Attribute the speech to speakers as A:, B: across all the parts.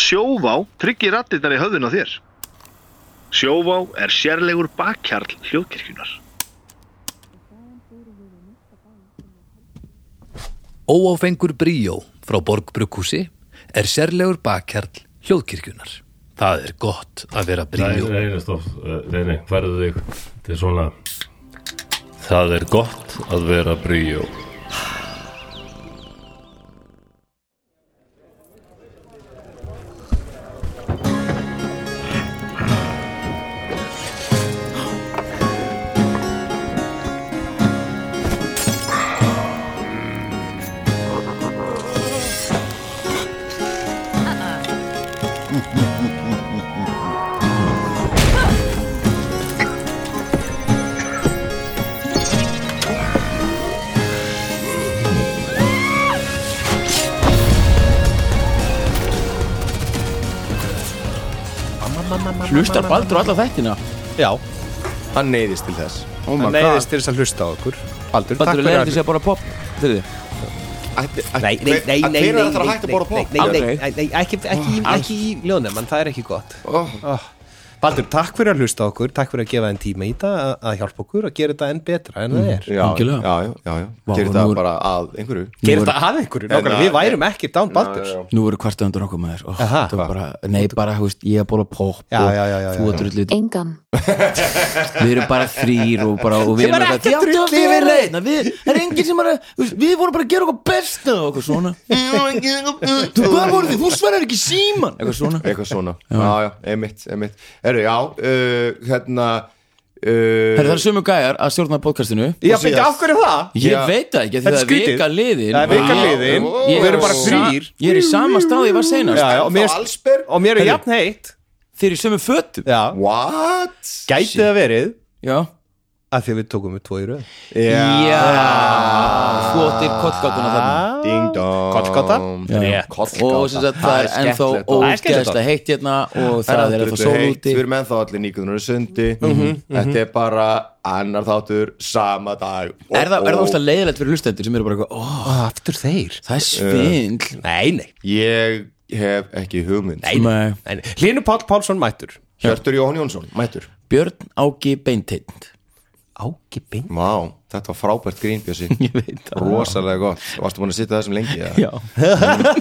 A: Sjóvá tryggir rattirnar í höfðun á þér. Sjóvá er sérlegur bakkjarl hljóðkirkjunar.
B: Óáfengur bríó frá Borgbrukkúsi er sérlegur bakkjarl hljóðkirkjunar. Það er gott að vera
C: Nei,
B: bríó.
C: nei, nei, stopp, Eh, nei, nei, færðu þig til svona Það er gott að vera bríó
D: Hlustar Baldur á alla þættina
E: Já, hann neyðist til þess
D: Oh my
E: Hann neyðist til þess að hlusta á okkur
D: Baldur er
E: Baldur, takk
D: leiðandi
E: fyrir
D: sér bara pop Þeirri
F: Nei, nei, nei, nei, nei,
E: Hver er
F: nei,
E: þetta að
F: nei,
E: hætta að bora
F: nei,
E: pop?
F: nei, nei, nei, nei, ekki, ekki, í- ekki í ljónum, það er ekki gott.
E: Oh.
F: Oh.
E: Baldur, takk fyrir að hlusta á okkur Takk fyrir að gefa þeim tíma í þetta að- að hjálpa okkur að gera þetta enn betra en það er
G: Já,
D: Algjörlega.
G: já, já, já, já.
D: Vá,
G: Gerir
D: nú
G: það
D: er-
G: bara að einhverju
E: Gera þetta að einhverju, nákvæmlega, við værum ekkert án Baldur
D: Nú eru kvartu undan okkur maður oh,
E: Aha.
D: það var bara, Nei, bara, hú veist, ég er bara pop
E: Já,
D: og
E: já, já, já,
D: Þú
E: já.
D: að drullu
H: Engan.
D: Við erum bara þrýr og bara og Við erum bara Já, drullu við erum leitna Við það er enginn sem er að þú veist, Við vorum bara að gera okkur besta og okkur svona Þú hvað voru þið? Þú svarar ekki síman Eitthvað svona
G: Eitthvað svona, já, já, emitt, emitt Herru, já, uh, hérna uh,
D: Herra, Það eru sömu gæjar að stjórna podcastinu
E: Já,
G: Og
E: betur,
G: síðast.
E: af hverju það?
D: Ég
G: Já.
D: veit það ekki, af því
E: Þetta
D: það
E: er
D: er vika
E: skrítið.
D: liðin
E: Það er vika liðin
G: Ó.
D: Ég er
E: Við erum bara
D: á sa-
E: þrýr
D: Ég er í sama stað ég var senast
E: Já, já, og mér-
G: Þá Allsberg
E: Og mér er
D: Heyrðu.
E: jafn heitt
D: Þeir eru sömu fötum
E: Já,
G: What?
E: gæti það verið
D: Já
E: að því að við tókum við tvo í röð
D: Já Flottir kottgátuna þarna
F: Ah.
G: Ding dong
E: Kollgáta.
D: Já. Og sem sagt það er ennþá ógeðslega heitt hérna og það er ennþá sól úti Mhm,
G: Við erum ennþá allir nýkundur sundi Þetta er bara annar þáttur sama dag og,
D: Er það er það óslega leiðilegt fyrir hlustendur sem eru bara eitthvað, ó,
E: Og aftur þeir
D: það er svindl
E: Nei, nei,
G: Ég hef ekki hugmynd
D: Nei.
E: nei, nei. Hlynur Páll Pálsson mættur
G: Hjörtur Jóhann Jónsson, mættur
D: Björn Ági Beinteind
E: Áki Bind
G: Vá, þetta var frábært grín Bjössi
D: Ég veit það
G: Rosalega gott, varstu búin að sitja þessum lengi eða?
D: Já.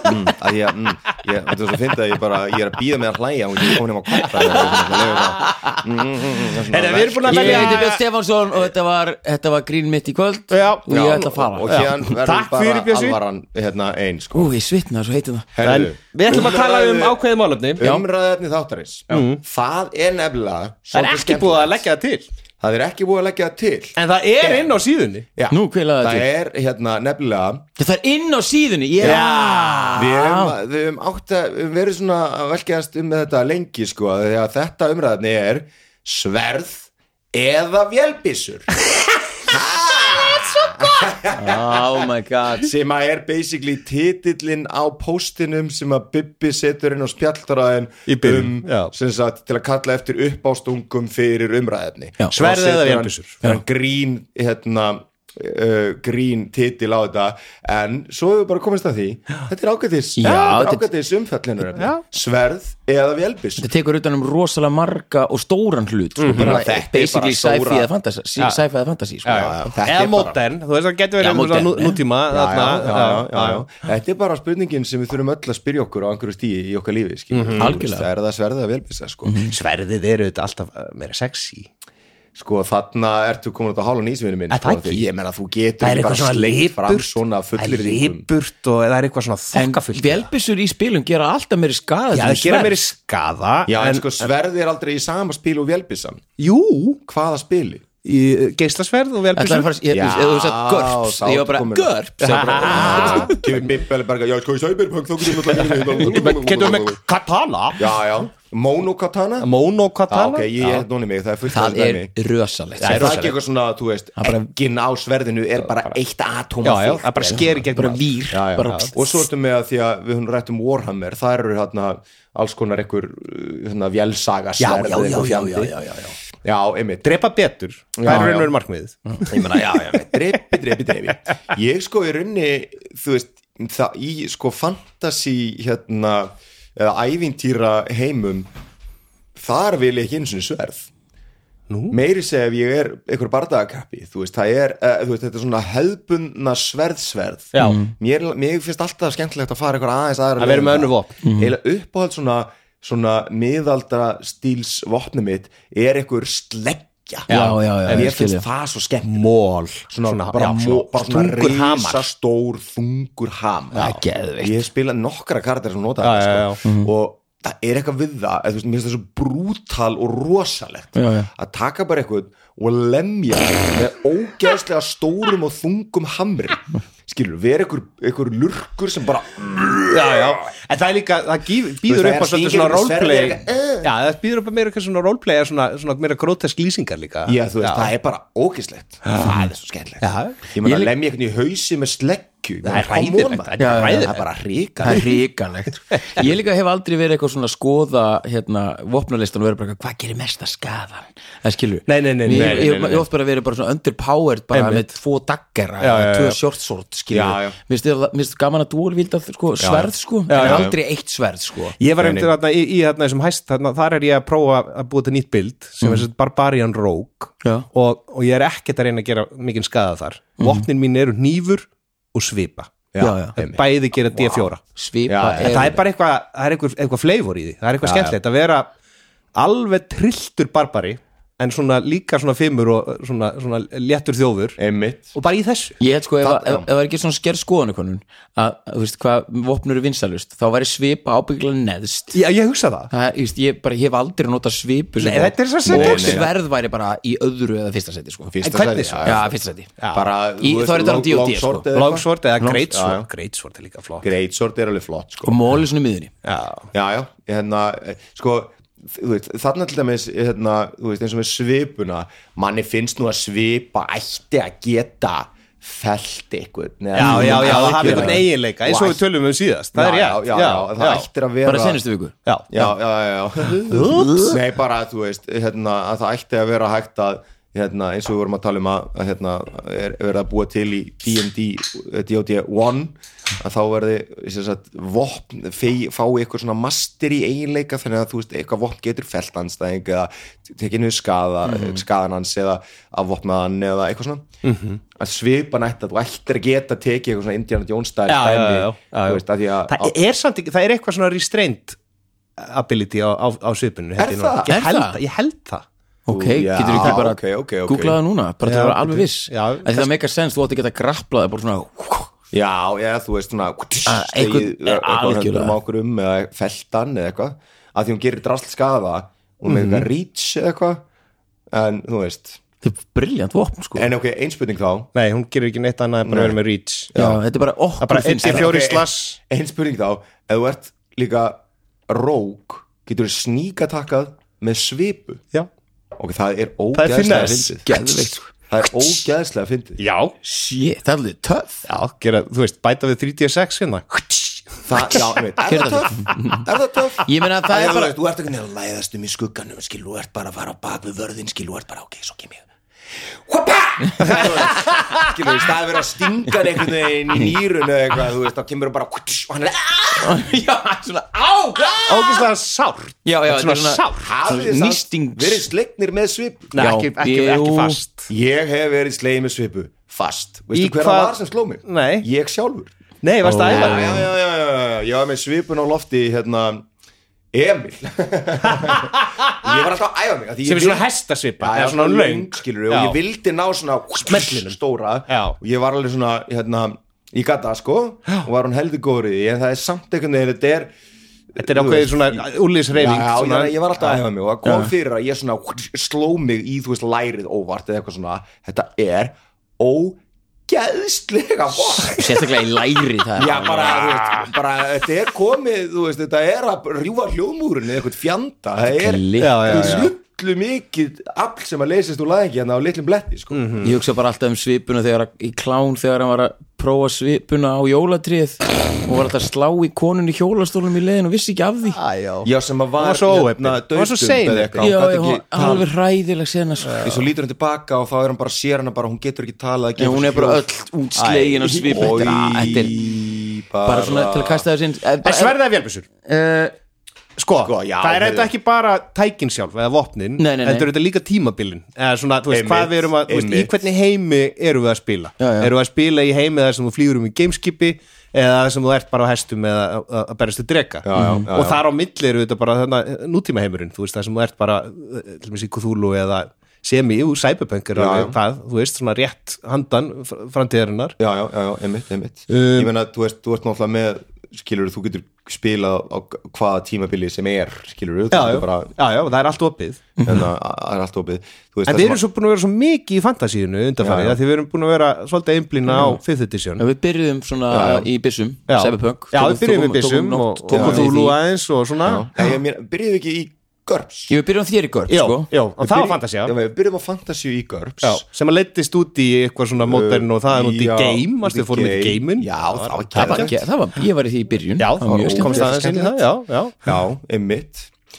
G: mm, að ég, mm, ég, þetta er svo fyndið að ég bara ég er að býða með að hlæja og ég er komin heim að kvarta eða eitthvað, ég er bara, mm, mm, mm, mm, svona
E: Heyrðu, við erum búin að
D: Ég
E: velja
D: heiti Björn Stefánsson og þetta var, þetta var grín mitt í kvöld
E: Já.
D: og ég ætla að
G: og
D: fara
G: héðan verður
E: Takk fyrir,
G: bara
E: Bjössi.
G: alvaran hérna einn sko
D: Ú, ég svitna svo heitir það
G: Herðu,
F: Við ætlum að tala um ákveðið málefni.
G: umræðefni þáttarins
D: Mm.
G: það er nefnilega
E: Það er ekki búið að leggja það til
G: það er ekki búið að leggja það til
E: En það er inn á síðunni
G: Já,
D: Nú, hvað er lagað
G: það
D: til?
G: er hérna nefnilega
D: Það er inn á síðunni Já,
G: Við höfum, við höfum átt að við höfum verið svona að velkjast um með þetta lengi sko, því að þetta umræðni er sverð eða vélbissur
D: Oh my god
G: sem að er basically titillin á postinum sem að Bibbi setur inn á spjalltaraðin
E: Í byrjun,
G: um,
E: já.
G: sem sagt, til að kalla eftir uppástungum fyrir umræðefni
D: Já.
G: Þá
E: Sverð eða
G: setur hann-
E: vélbyssur.
G: hann grín hérna Uh, grín titil á þetta en svo hefur við bara komist að því þetta er ágætis,
D: Já,
G: þetta er
D: þetta-
G: ágætis umfjallinar sverð eða vélbiss
D: Þetta tekur utan um rosalega marga og stóran hlut sko, bara
G: Þetta er
D: Basically
G: bara stóra-
D: sci-fi eða fantasy sí- Sci-fi eða fantasy sko.
G: Þetta
E: Eða
G: er bara-
E: modern, þú veist það getur
D: Já,
E: verið um
D: modern,
E: svona nú-
D: ja.
E: nútíma
G: Já, já,
E: þarna,
G: já, já, já, já. Þetta er bara spurningin sem við þurfum öll að spyrja okkur á einhverju stíi í okkar lífi mm
D: Algjörlega.
G: Það er það sverðið að velbissa sko.
E: Sverðið eru þetta alltaf uh, meira sexy
G: sko þarna ertu komin út á hálun ísvinni minn
E: Er það
G: sko,
E: ekki?
G: því- Ég menna þú getur
E: Það er
G: ekki bara
E: eitthvað svona
G: sleikt fram
E: lipurt
G: svona
E: Það er
G: fullir
E: lipurt og það er eitthvað svona
D: En
E: þokkafullt
D: vélbissur í spilum gera alltaf meiri skaða
E: Já, það gera meiri skaða
G: Já en,
E: en,
G: sko sverðið er aldrei í sama spil og velbissan
E: Jú,
G: Hvaða spili?
E: í, uh, geislasverð og
D: Ætlaði að
E: velbísur
D: fara Ég
G: Já,
D: hefði sagt GURPS
G: þá
D: Ég var bara
G: komin-
D: GURPS ég var bara-
G: Kemur Bibbel "Ah." bara Já sko í Cyberpunk þá getum við náttúrulega-
E: Getur við með katana
G: Já já Monokatana? Já,
E: Monokatana
G: ok, ég er núni mig, það er fullt af
D: Það
G: þessu
D: er
G: dæmi.
D: rösalegt
G: Það er það ekki eitthvað svona, þú veist, ekkin á sverðinu er bara eitt atóm
E: Já,
G: af
E: já,
G: þykkt,
E: það bara
G: eða
E: sker í gegnum
D: Bara
E: allt.
D: vír
G: já, já.
D: bara-
G: og svo ertum við að því að við hún rættum Warhammer, það eru hérna alls konar einhver hérna, vélsaga sverð
E: já,
G: eitthvað
E: já, já,
G: fjandi.
E: já,
G: já, einmitt
E: Drepa betur, það
G: Já,
E: er
G: já.
E: raunverið markmiðið
G: ég meina, já, já, dreipi, dreipi, dreipi ég sko í raunni, þú veist það, í sko fantasy hérna eða ævintýra heimum þar vil ég ekki eins og sverð Nú? meiri segja ef ég er einhver bardagakappi þú veist, það er, uh, þú veist, þetta er svona hefðbundna sverðsverð
F: Já.
D: Mm.
G: mér, mér finnst alltaf skemmtilegt að fara eitthvað aðeins aðra
F: Að vera með önnur Mm.
G: vopn eða uppáhald svona, svona miðaldra stíls vopnum mitt er einhver sleggja
D: Já, já, já,
G: en
D: ég
G: ég finnst
D: skil ég.
G: það svo skemmt mól svona, bara,
F: já,
G: mó, bara svona
F: þungur hamar.
G: risastór þungur hamar
D: Já, geðveikt.
G: ég hef spilað nokkra karakter sem nota
F: Já,
G: það sko. og það er eitthvað við það eða, þú veist, mér finnst það svo brútal og rosalegt
D: Já, já.
G: að taka bara eitthvað og lemja með ógeðslega stórum og þungum hamri skilur, vera einhver, einhver lurkur sem bara
E: já, já, en það er líka, það gíf,
G: Þú
E: býður upp á
G: veist, það er
E: svolítið svona
G: stingir upp í sverðið Uh.
E: roleplay
G: eitthvað,
E: já, það býður upp á meira eitthvað svona roleplay eða svona, svona meira grótesk lýsingar líka
G: Já, þú veist,
E: já.
G: það er bara ógislegt Það er svo skemmtilegt
E: Já.
G: Ég meina, lemja einhvern í hausi með sleggju
E: Það er hræðilegt, það er
G: Já, já, já,
E: hræðilegt.
G: Það er bara hríka
D: það er hrikalegt ég líka hef aldrei verið eitthvað svona að skoða hérna, vopnalistan og verið bara eitthvað, hvað gerir mesta skaðan það skilur
E: Nei, nei, nei,
D: Ég-
E: nei, nei,
D: ég-
E: nei, nei.
D: ég oft bara verið bara svona underpowered bara með tvo daggera
E: Já, já, já.
D: tvö shortsort skilur
G: Já, já.
D: Mér finnst það- mér finnst gaman að dúalvílda sko, sverð sko, en
E: já.
D: aldrei eitt sverð sko
E: Ég var eftir þarna í, í þarna þessum hæst þarna, þar er ég að prófa að búa til nýtt bild sem er sett Barbarian Rogue
D: Já.
E: og, og ég er ekkert að reyna að gera mikinn skaða þar Vopnin mín eru nýfur og svipa
D: Já, já.
E: Bæði gera D4
D: svipa
E: En það er bara eitthvað, það er eitthvað, eitthvað fleifur í því Það er eitthvað skemmtilegt að vera alveg trilltur barbari en svona líka svona fimmur og svona, svona léttur þjófur
G: Einmitt
E: og bara í þessu
D: Ég held sko, ef,
G: Það-
D: það, ef, ef það er ekki svona sker skoðanakonun að, þú veist, hvað vopnur er vinsalust þá væri svipa ábyggla neðst
E: Já, ég hugsa það
D: það, ég, veist, ég bara hef aldrei nota svipu sem
E: Nei,
D: vopn.
E: þetta er svo sem
D: og
E: tókst.
D: sverð væri bara í öðru eða fyrsta seti sko.
G: Fyrsta
E: En hvernig
G: sæti,
E: svo?
G: já,
D: já, fyrsta seti
G: Bara,
D: Í-
G: þú
D: þá
G: veist,
D: er þetta
G: long-
D: orðið D&D,
G: longsword
D: sko.
E: Longsword
G: eða eitthvað.
E: eða
G: já,
E: Greatsword
G: já.
E: Greatsword er líka flott
G: Greatsword er alveg flott,
E: Mm.
G: sko
D: og móli svona í miðunni
E: Já,
G: Já, já, hérna, eh, sko þú veist, þarna til dæmis hérna, þú veist, eins og með svipuna manni finnst nú að svipa ætti að geta felt einhvern eða-
E: já, já, já það hafi
G: Algjörlega.
E: einhvern eiginleika eins og við tölum um síðast Það er rétt
G: já, já, já, já, það ættir að vera
D: bara senastu viku
E: já,
G: já, já, já, já. Nei, bara að þú veist hérna, að það ætti að vera hægt að hérna, eins og við vorum að tala um að, að hérna, er verið að búa til í D&D eh, D&D 1 að þá verði sem sagt, vopn fei, fái eitthvað svona master í eiginleika þannig að þú veist, eitthvað vopn getur felt anstæðing eða tekinu skaða,
E: Mhm.
G: skaðan hans eða að vopna hann eða eitthvað svona
E: Mhm.
G: að svipa nætt að þú ættir að geta tekið eitthvað svona Indiana Jones stæl
E: Já, já, já, já, já.
G: Veist, að því að,
E: Það er samt ekki, það er eitthvað svona restraint ability á, á, á svipinu held ég nú.
G: það?
E: Ég
D: Er
E: held
D: það?
E: það? Ég held það
D: ok,
G: Já,
D: getur ekki bara
G: ok, ok, ok.
D: googlað það núna bara til
E: Já,
D: að vera alveg
E: ok.
D: viss
E: Já,
D: Af því það meikar sens, þú átti að geta graplað bara svona,
G: Já, já, þú
E: Ah,
G: veist svona
D: einhvern-
E: eh,
G: slegið eitthvað
D: algjörlega.
G: höndum á okkur um eða feltan eða eitthvað að því hún gerir drasl skaða hún
E: Mhm.
G: með eitthvað reach eða eitthvað en þú veist,
D: þetta er briljant vopn sko.
G: en ok, einspurning þá
E: Nei, hún gerir ekki neitt annað en bara
G: Nei.
E: verið með reach
D: já, þetta er bara okkur
E: Það er bara
D: finnst
E: 1-4
G: Ok.
E: slass
G: einspurning þá, ef þú ert líka rók, getur þú sníkatakkað með svipu
E: Já,
G: ok, það er ógeðslega
E: finesse.
G: fyndið
D: Geðveikt, sko.
G: það er ógeðslega fyndið
E: já,
D: shit, það er alveg töff
E: já gera, þú veist, bæta við 3D6 hérna
G: Ah! það, já, einmitt, er það töff? er það töff?
D: ég meina að það er bara
G: þú ert ekki nefnilega að læðast um í skugganum skil, þú ert bara að fara á bak við vörðin skil, þú ert bara, ok, svo kem ég Hoppa! skil, þú veist, það er verið að stinga þig einhvern veginn í nýrun eða eitthvað, þú veist, þá kemur þú bara og hann er, "Ah,
D: já, svona, á,
E: Ógæslega sárt
D: Já, já,
E: Svona
D: þetta er svona-
E: sárt
G: hafið þið
D: Nístings.
G: samt verið slegnir með svip
E: Nei,
D: Já,
E: ekki, ekki,
D: jú.
E: ekki fast
G: ég hef verið slegin með svipu, fast veistu
E: Í
G: hver
E: hvað-
G: það var sem sló mig?
E: Nei.
G: ég sjálfur
E: Nei, varst það
G: já, já,
E: ævar
G: já, já, já, já, ég var með svipun á lofti hérna, Emil ég var alltaf að æfa mig af því ég
E: Sem er
G: vil-
E: svona hestasvipa
G: Já,
E: Eða svona löng
G: skilur og ég vildi ná svona
E: Smellinum.
G: stóra
E: Já.
G: og ég var alveg svona hérna, ég gata sko og var hún heldur góður í því en það er samt einhvern veginn þetta er
E: Þetta er
G: þú
E: ákveðið
G: veist,
E: svona
G: Já,
E: Ullisreifing
G: já,
E: svona,
G: ég, ég var alltaf að æfa mig og það kom fyrir að ég svona sló mig í þú veist lærið óvart eða eitthvað svona þetta er ógeðslega vart
D: sérstaklega í læri það
G: Já, bara, þú veist, bara, þetta er komið, þú veist, þetta er að rjúfa hljóðmúrin eða eitthvað fjanda, það er
D: Klikkað.
E: Já, já, já.
G: lullu mikið afl sem að leysist úr laðingi hérna á litlum bletti, sko.
D: Ég hugsa bara alltaf um svipuna þegar að- í klán þegar hann var að prófa svipuna á jólatrið og var alltaf að slá í konunni í hjólastólum í leiðin og vissi ekki af því
E: Æ, já.
G: Já, sem að var
E: Hann var svo óheppinn. Hann var svo
G: dauðdumb
E: sein
G: eða
E: eitthvað.
G: eitthvað,
D: Já,
G: hann
D: já,
G: gat ekki
D: hún- alveg hræðileg sena sko.
G: Því svo lítur hann tilbaka og þá er hann bara sér hann bara, hún getur ekki talað
D: En hún er bara öll útslegin á svipun Þetta er- Þetta er
G: bara,
D: bara svona til að kasta þessi inn
E: En sverðið er vélbissur
D: uh,
E: Sko,
G: Sko, já,
E: það er
G: heyrðu.
E: þetta ekki bara tækin sjálf eða vopnin,
D: Nei, nei, nei.
E: heldur þetta líka tímabilin eða svona, þú veist,
G: Einmitt,
E: hvað við erum að þú veist, í
G: einmitt.
E: hvernig heimi erum við að spila
D: Já, já.
E: erum við að spila í heimi þar sem þú flýgur um í gameskipi eða þar sem þú ert bara á hestum eða að- að að berjast til drega
G: Já, já, já,
E: og
G: já.
E: þar á milli eru þetta bara þarna, nútíma heimurinn, þú veist, þar sem þú ert bara eh, til dæmis í Cthulhu eða sem í jú, Cyberpunk er
G: Já,
E: alveg
G: já.
E: það, þú veist, svona rétt handan fr- framtíðarinnar
G: já, já, já, já, einmitt, einmitt
E: Um,
G: ég meina, þú ert, þú ert náttúrulega með skilur, þú getur spilað á hvaða tímabili sem er, skilur, þú
E: já, já,
G: getur bara
E: já, já, það er allt opið
G: hérna, það er allt opið Þú veist,
E: En
G: það
E: við
G: sem
E: erum svo búin að vera svo mikið í fantasíunu undanfarið
G: Já, já.
E: að því við erum búin að vera svolítið einblýna á 5th edition
D: Við byrjuðum svona
G: Já, já.
D: í byssum
E: Já,
D: Cyberpunk
E: já
D: Tókum-
E: við byrjum
D: tókum-
E: við byssum
D: tókum
E: og
D: nótt-
E: tókum
D: tókum
E: þú
D: því-
E: aðeins og svona
G: Já, ég meina, byrjuðu ekki í GURPS
D: Ég við byrjum á þér í görp
E: Já,
D: sko
E: já, og það var fantasía
G: Já, við byrjum á Fantasíu í GURPS
E: Já, sem að leittist út í eitthvað svona modern og það er út í game, varstu við fórum í gamein
G: Já, það var
D: Það var, ekki- það var, ég var í því í byrjun
E: já
D: það var mjög
E: komst
D: skemmt
E: aðeins inn í það, já, já
G: Já, einmitt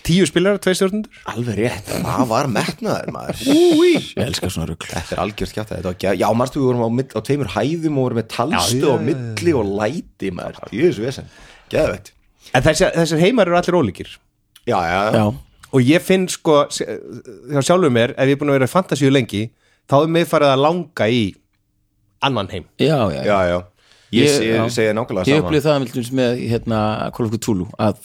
E: Tíu spilarar, tvei stjórnundur
G: Alveg rétt, það var metnaður maður
D: Ég elska svona rugl
G: Þetta er algjör skjátt að þetta var gæð Já, marstu, við vorum á, mill, á tveimur hæðum og vorum með
E: Já,
G: talstu
E: já,
G: og milli og læti maður Jöðs vesen, geðveitt
E: En þessar, þessar heimar eru allir ólíkir
G: Já, já, já,
D: Já,
E: og ég finn sko s- hjá sjálfur mér, ef ég er búin að vera í fantasíu lengi þá er mig farið að langa í annan heim
D: já, já,
G: já, já. Ég,
D: Ég-
G: ég,
D: já.
G: ég segi nákvæmlega
D: Ég
G: sama
D: upplýði það með, með hérna, Call of Cthulhu að,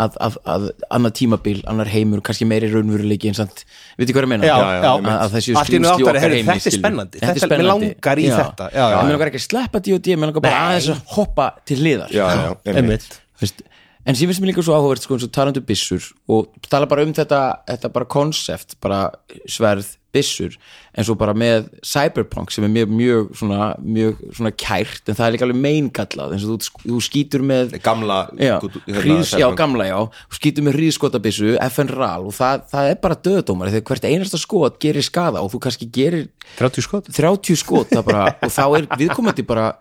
D: að, að, að annar tímabil, annar heimur kannski meiri raunveruleiki en samt Veitir hvað ég meina?
E: Já,
G: já,
D: að, að þessi
E: Allt í einu áttari, heyrðu, þetta er
D: skilur.
E: spennandi,
D: Þetta er
E: þetta- mig
D: spennandi
E: langar í þetta. Já, já,
D: En
E: já.
D: mér langar ekki að sleppa D&D, mér langar bara aðeins að hoppa til liðar
G: Já, já, einmitt
D: Veist, en sem finnst mér líka svo áhugavert sko, eins og talandu byssur og tala bara um þetta, þetta bara konsept bara sverð byssur en svo bara með cyberpunk sem er mjög, mjög, svona, mjög svona kært en það er líka alveg meingallað eins og þú, þú skýtur með
G: Gamla
D: já,
G: gútú-
D: hríðs, já,
G: Cyberpunk.
D: gamla já þú skýtur með hríðskotabissu, FN RAL og það, það er bara döðdómar þegar hvert einasta skot gerir skada og þú kannski gerir
E: 30 skot
D: 30 skot það bara, og þá er viðkomandi bara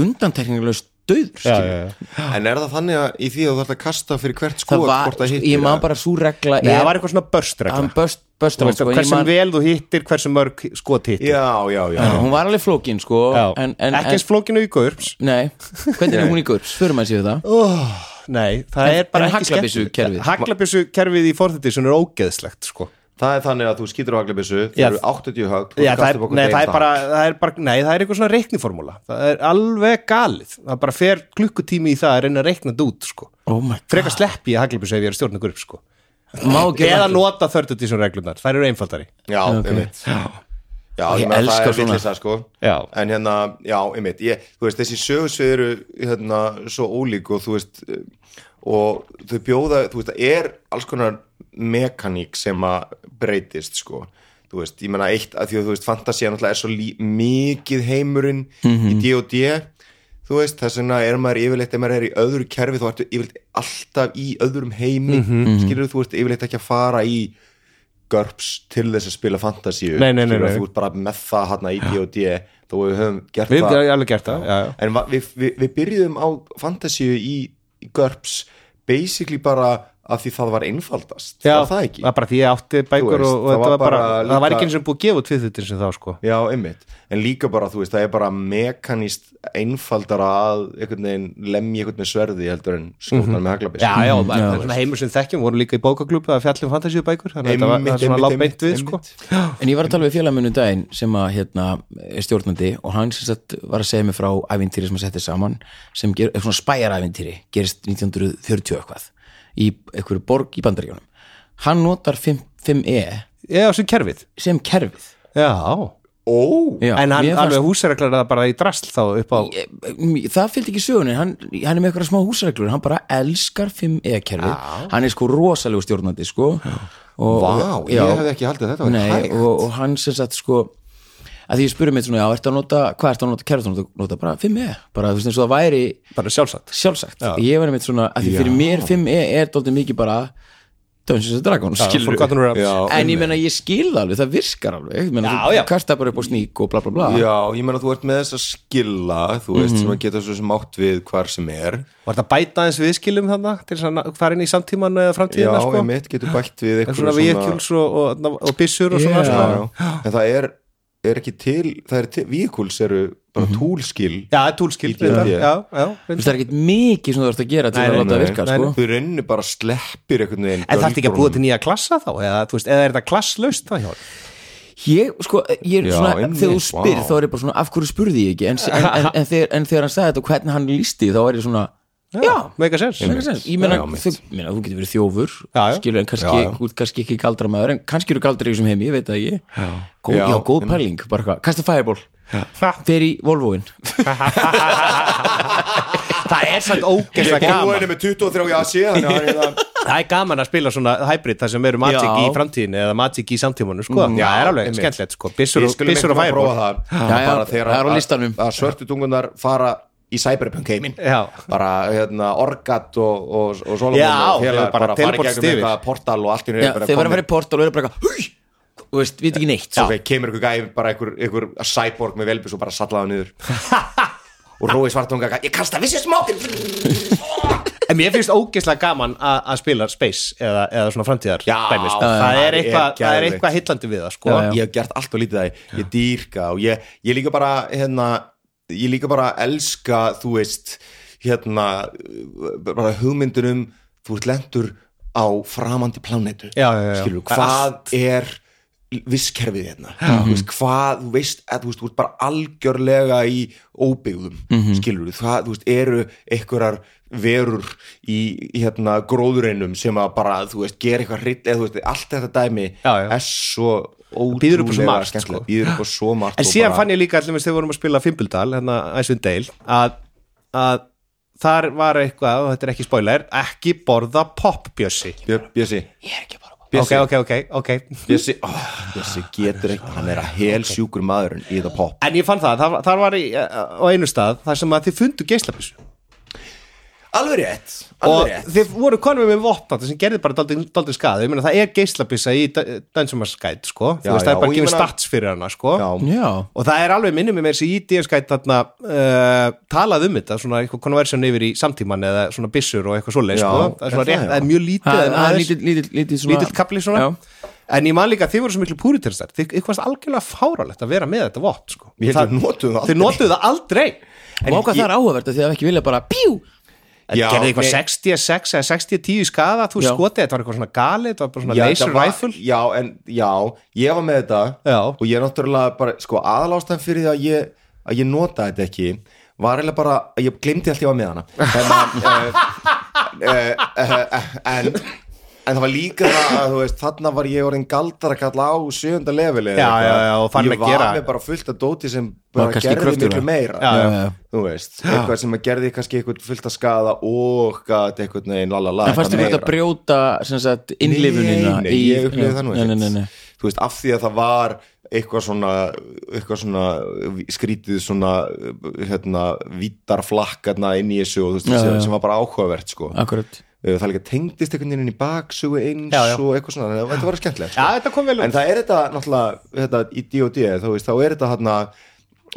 D: undantekningarlaust döður
E: já, já, já.
G: En er það þannig að í því að þú þarf að kasta fyrir hvert skot
D: það var, sko,
G: hvort það hittir
D: ég
G: eða?
D: man bara svo regla
E: Nei,
D: er-
E: það var eitthvað svona börstregla
D: hann böst, böst
E: Þú
D: hann,
E: veist,
D: sko, en ég
E: hversu
D: man,
E: vel þú hittir, hversu mörg skot hittir
G: Já, já, já,
D: hún var alveg flókin sko,
E: Já.
D: en, en,
E: ekki
D: en
E: eins flókinu í GURPS
D: nei, hvernig er hún í gurs, förum að séu það
E: nei, það
D: En-
E: er bara
D: en
E: ekki
D: haglabyssukerfið?
E: haglabissu kerfið í forþýtti sem er ógeðslegt sko.
G: Það er þannig að þú skýtur á aglabissu, þú
E: Já.
G: eru 80 högt
E: Já, það, er, nei, það, er bara, það er bara nei, það er eitthvað svona reikniformúla það er alveg galið það bara fer klukkutími í það að reyna að reikna þetta út sko.
D: oh my
E: frekar sleppi ég haglabissu ef ég er stjórna GURPS sko.
D: Má ekki
E: eða
D: haglabyssu.
E: nota þördutísum reglunar, það eru einfaldari
G: Já, einmitt Já,
D: Ég
G: ég meina,
D: elska
G: það er
D: svona.
G: villisa sko
E: Já.
G: En hérna, já, einmitt ég, Þú veist, þessi sögursvið eru hérna, svo ólík og þú veist eh, og þau bjóða, þú veist, það er alls konar mekaník sem að breytist sko Þú veist, ég meina eitt að því að þú veist, fantasía náttúrulega er svo lí, mikið heimurinn í D&D þú veist, þess vegna er maður yfirleitt ef maður er í öðru kerfi, þá ertu yfirleitt alltaf í öðrum heimi, mm skilur þú veist yfirleitt ekki að fara í GURPS til þess að spila fantasíu
E: Nei, nei, nei,
G: Skilurðu,
E: nei.
G: þú ert bara með það hann í D&D þó við höfum gert
E: við
G: það
E: hefum alveg gert það já, já.
G: en va- við, við, við byrjuðum á fantasíu í, í GURPS basically bara af því það var einfaldast var það ekki?
E: bara því ég átti bækur
G: Þú veist,
E: og, og
G: það
E: þetta
G: var
E: var bara,
G: bara
E: það var
G: líka-
E: ekki eins og búið að gefa út við þetta sem þá sko
G: Já, einmitt, en líka bara, þú veist, það er bara mekanist einfaldara að einhvern veginn lemja einhvern með sverði heldur en skjóta hann með haglabis
E: Mhm. Já, já, það er svona heimur sem þekkjum, vorum líka í bókaklúpa að fjallum fantasíu bækur, þannig að þetta var það
G: Einmitt,
E: er svona
G: einmitt,
E: lág beint við,
G: einmitt,
E: sko
G: einmitt.
D: en ég var að tala við félagminu daginn sem að hérna, er stjórnandi og hann sem sagt var að segja mig frá ævintýri sem að setja saman sem ger, er svona spæjarævintýri gerist 1940 eitthvað í einhverju borg í bandaríjónum hann notar 5, 5E
E: Já, sem kerfið
D: sem kerfið
E: Já,
G: Ó,
D: Já,
E: en hann
D: mér fannst-
E: alveg húsreglar það bara í drasl þá upp á
D: Ég- m- það fylgdi ekki sögunni hann, hann er með eitthvað smá húsreglur hann bara elskar 5E-kerfi hann er sko rosalegu stjórnandi sko. og,
G: Vá,
D: og-
G: ég hefði ekki haldið að þetta væri
D: Nei,
G: hægt.
D: og, og hann sem sagt sko að því ég spurði mig svona, já, ertu að nota hvað ertu að nota kerfi, þú nota bara 5E bara þú veist eins og það væri
E: bara sjálfsagt
D: sjálfsagt ég var einmitt svona, að því fyrir mér 5E er dóldi mikið bara Dungeons and Dragons, skilur
E: Forgotten Realms.
D: en ég meina ég skil það alveg, það virkar alveg Ég meina,
E: E. Já,
D: þú
E: já.
D: kastar bara upp á sník og bla bla
E: Ah.
D: bla
G: Já, ég meina þú ert með þess að skilla þú
E: Mhm.
G: veist, sem að geta svo sem átt við hvar sem er
E: Var þetta bæta eins viðskilum þannig til þess að na- fara inn í samtíman eða
G: Já,
E: framtíðina, sko
G: einmitt, getur bætt við
E: En
G: einhverju
E: svona vehicules sko. og, og, og byssur og svona,
D: Já.
E: sko
G: já, já. En það er, er ekki til, það er til, vehicles eru bara
E: Mhm.
G: túlskill
E: Já, túlskill
G: Í D&D.
E: reyndar. Já, já,
D: Þú
E: reyndar.
D: veist, það er ekkert mikið sem þú ert að gera til
E: Nei,
D: að
E: nei,
D: láta það virka, sko
G: þú rauninu bara sleppir einhvern veginn
E: En það er ekki að búa til
G: göldrunum.
E: nýja klassa þá eða, þú veist, eða er þetta klasslaust þá hjá þér?
D: Ég, sko, ég er
G: Já,
D: svona,
G: einmitt,
D: þegar þú spyr
G: vá.
D: þá er ég bara svona, af hverju spurði ég ekki en, en, en, en, þegar, en þegar hann sagði þetta og hvernig hann lísti þá er ég svona, já,
E: Mega sens
D: Meika sens. ég meina,
G: Já, mitt.
D: þú, meina, þú getur verið þjófur
E: Já, já.
D: skilur en kannski,
G: Já, já.
D: Þú, ert kannski ekki galdramæður en kannski eru galdra í þessum heimi, ég veit það ekki já, góð,
G: Já,
D: já, góð
G: einmitt.
D: pæling, bara hvað, kasta fireball fer í Volvoin
E: Það er samt
G: ég
E: ógeðslega
G: er búin
E: gaman
G: með 23 í Asi þannig að hann er það-
E: Það er gaman að spila svona hybrid þar sem eru Magic
D: Já.
E: í framtíðinu eða Magic í samtímanu sko.
G: Mm, Já,
E: Það er alveg
G: einmitt.
E: skemmtilegt sko.
G: Við
E: Bissur og
G: skulum
E: bissur og
G: einhvern veginn
E: færbor
G: prófa
D: Já,
G: það
D: já,
G: bara þegar
D: það er á
G: að-
D: listanum.
G: að svörtu tungunar fara í cyberpunk heiminn
E: Já.
G: bara hérna orgat og, og, og Solomon
E: Já,
G: og félagar
E: þeir bara
G: bara fara í
E: teleport
G: gegnum
E: yfir.
G: eitthvað portal og allt í
D: Já, þeir verða að vera í portal og verða bara eitthvað "Húi!" þú veist, við ekki neitt
G: svo þegar kemur ykkur gæði bara einhver, einhver cyborg með velbis og bara sallaða niður og Rói Svartunga gaf, ég kasta vissi smákin
E: En mér finnst ógeðslega gaman að að spila Space eða, eða svona framtíðar
G: Já,
E: dæmi, sko.
G: já,
E: Það
G: já.
E: er eitthvað
G: Það er
E: það er
G: geðveikt.
E: eitthvað hillandi við það sko.
D: Já, já.
G: ég hef gert allt og lítið það ég dýrka og ég, ég líka bara hérna, ég líka bara elska þú veist hérna, uh, bara hugmyndunum þú ert lendur á framandi plánetu
E: Já, já, já.
G: skilur, hvað er visskerfið hérna þú veist, hvað, þú veist, að, þú veist, þú ert bara algjörlega í óbyggðum mm
E: Mhm.
G: skilur, það, þú veist, eru einhverjar verur í í, hérna gróðureinum sem að bara þú veist, gera eitthvað hryll, eða þú veist, allt þetta dæmi
E: Já, já.
G: er svo
E: Býður upp á svo
G: ótrúlega
E: margt,
G: skemmtilegt.
E: sko.
G: býður upp á svo margt
E: En síðan fann ég líka allir þegar við vorum að spila Fimbildal, hérna Æsvin Dale að, að þar var eitthvað, og þetta er ekki spoiler ekki borða popbjössi
G: Björ- Bjössi,
E: Ok, ok, ok, ok
G: Bjössi, ó, Bjössi getur ekki hann er að hel sjúkur maðurinn í það pop
E: En ég fann það, þar, þar var í, á einu stað þar sem að þið fundu geislabissu
G: alveg rétt,
E: og
G: alveg rétt
E: þið voru konum með vopna sem gerði bara daldið daldið skadi ég meina það er geislabissa í Dunsumarskæt sko,
G: Já,
E: þú veist það er bara
G: já,
E: að
G: og ég
E: gefa
G: meina-
E: stats fyrir hana sko
G: Já.
D: já,
E: og það er alveg minnum með mér sem í DS-skæt þarna uh, talað um þetta svona eitthvað konversjón yfir í samtíman eða svona bissur og eitthvað svoleið
G: Já,
E: sko, það er
G: er
E: svona
G: það,
E: rétt,
G: já.
E: það er mjög lítið
D: það það
E: en
D: er
E: aðeins-
D: lítill lítill- lítill svona-
E: lítill kapli svona
D: Já.
E: en ég man líka að þið voru svo miklu púritirstar þið eitthvað algjörlega fáralegt að vera með þetta vott sko.
G: Ég held við notuðum það
E: þið
G: aldrei.
E: notuðu það aldrei
D: og ákvað það er áhugavert að þið hafa ekki viljað bara pjú,
G: Já,
E: gerði eitthvað
G: nei.
E: 66 eða 60-10 í skada þú
D: Já.
E: skotið, þetta var eitthvað svona galið þetta var bara svona
G: Já,
E: laser
G: þetta var-
E: rifle
G: já, en, já, ég var með þetta
E: Já.
G: og ég er náttúrulega bara, sko, aðalástan fyrir því að ég, að ég nota þetta ekki var eiginlega bara, að ég glimti allt ég var með hana þannig að uh, uh, uh, en en það var líka það að þú veist þarna var ég orðin galdar að kalla á sjönda leveli eða
E: Já,
G: eitthvað.
E: já, já, og farin
G: ég
E: að gera-
G: var með bara fullt af dóti sem bara
D: kannski
G: gerði
D: kröftugra.
G: miklu meira
E: Já, já,
D: já.
G: þú veist, eitthvað sem að gerði kannski eitthvað fullt að skaða og gat eitthvað neginn lalala
D: en fannst þið þetta að brjóta sem sagt, innlifunina
G: Nei, nei,
D: hérna í-
G: ég upplifði það nú
D: Nei, nei, nei,
G: ekkert
D: nei.
G: Þú veist, af því að það var eitthvað svona, eitthvað svona eh, skrítið svona hérna, vítarflakkarna inn í þessu og þú veist,
D: Já,
G: sem,
D: já.
G: sem var bara áhugavert sko.
D: akkurat
G: það líka tengdist einhvern veginn inn í baksögu eins
E: Já, já.
G: og eitthvað svona, þannig að þetta var skemmtilegt sko.
E: Já, þetta kom vel út.
G: en það er þetta náttúrulega þetta, í D.O.D. þá veist, þá er þetta hérna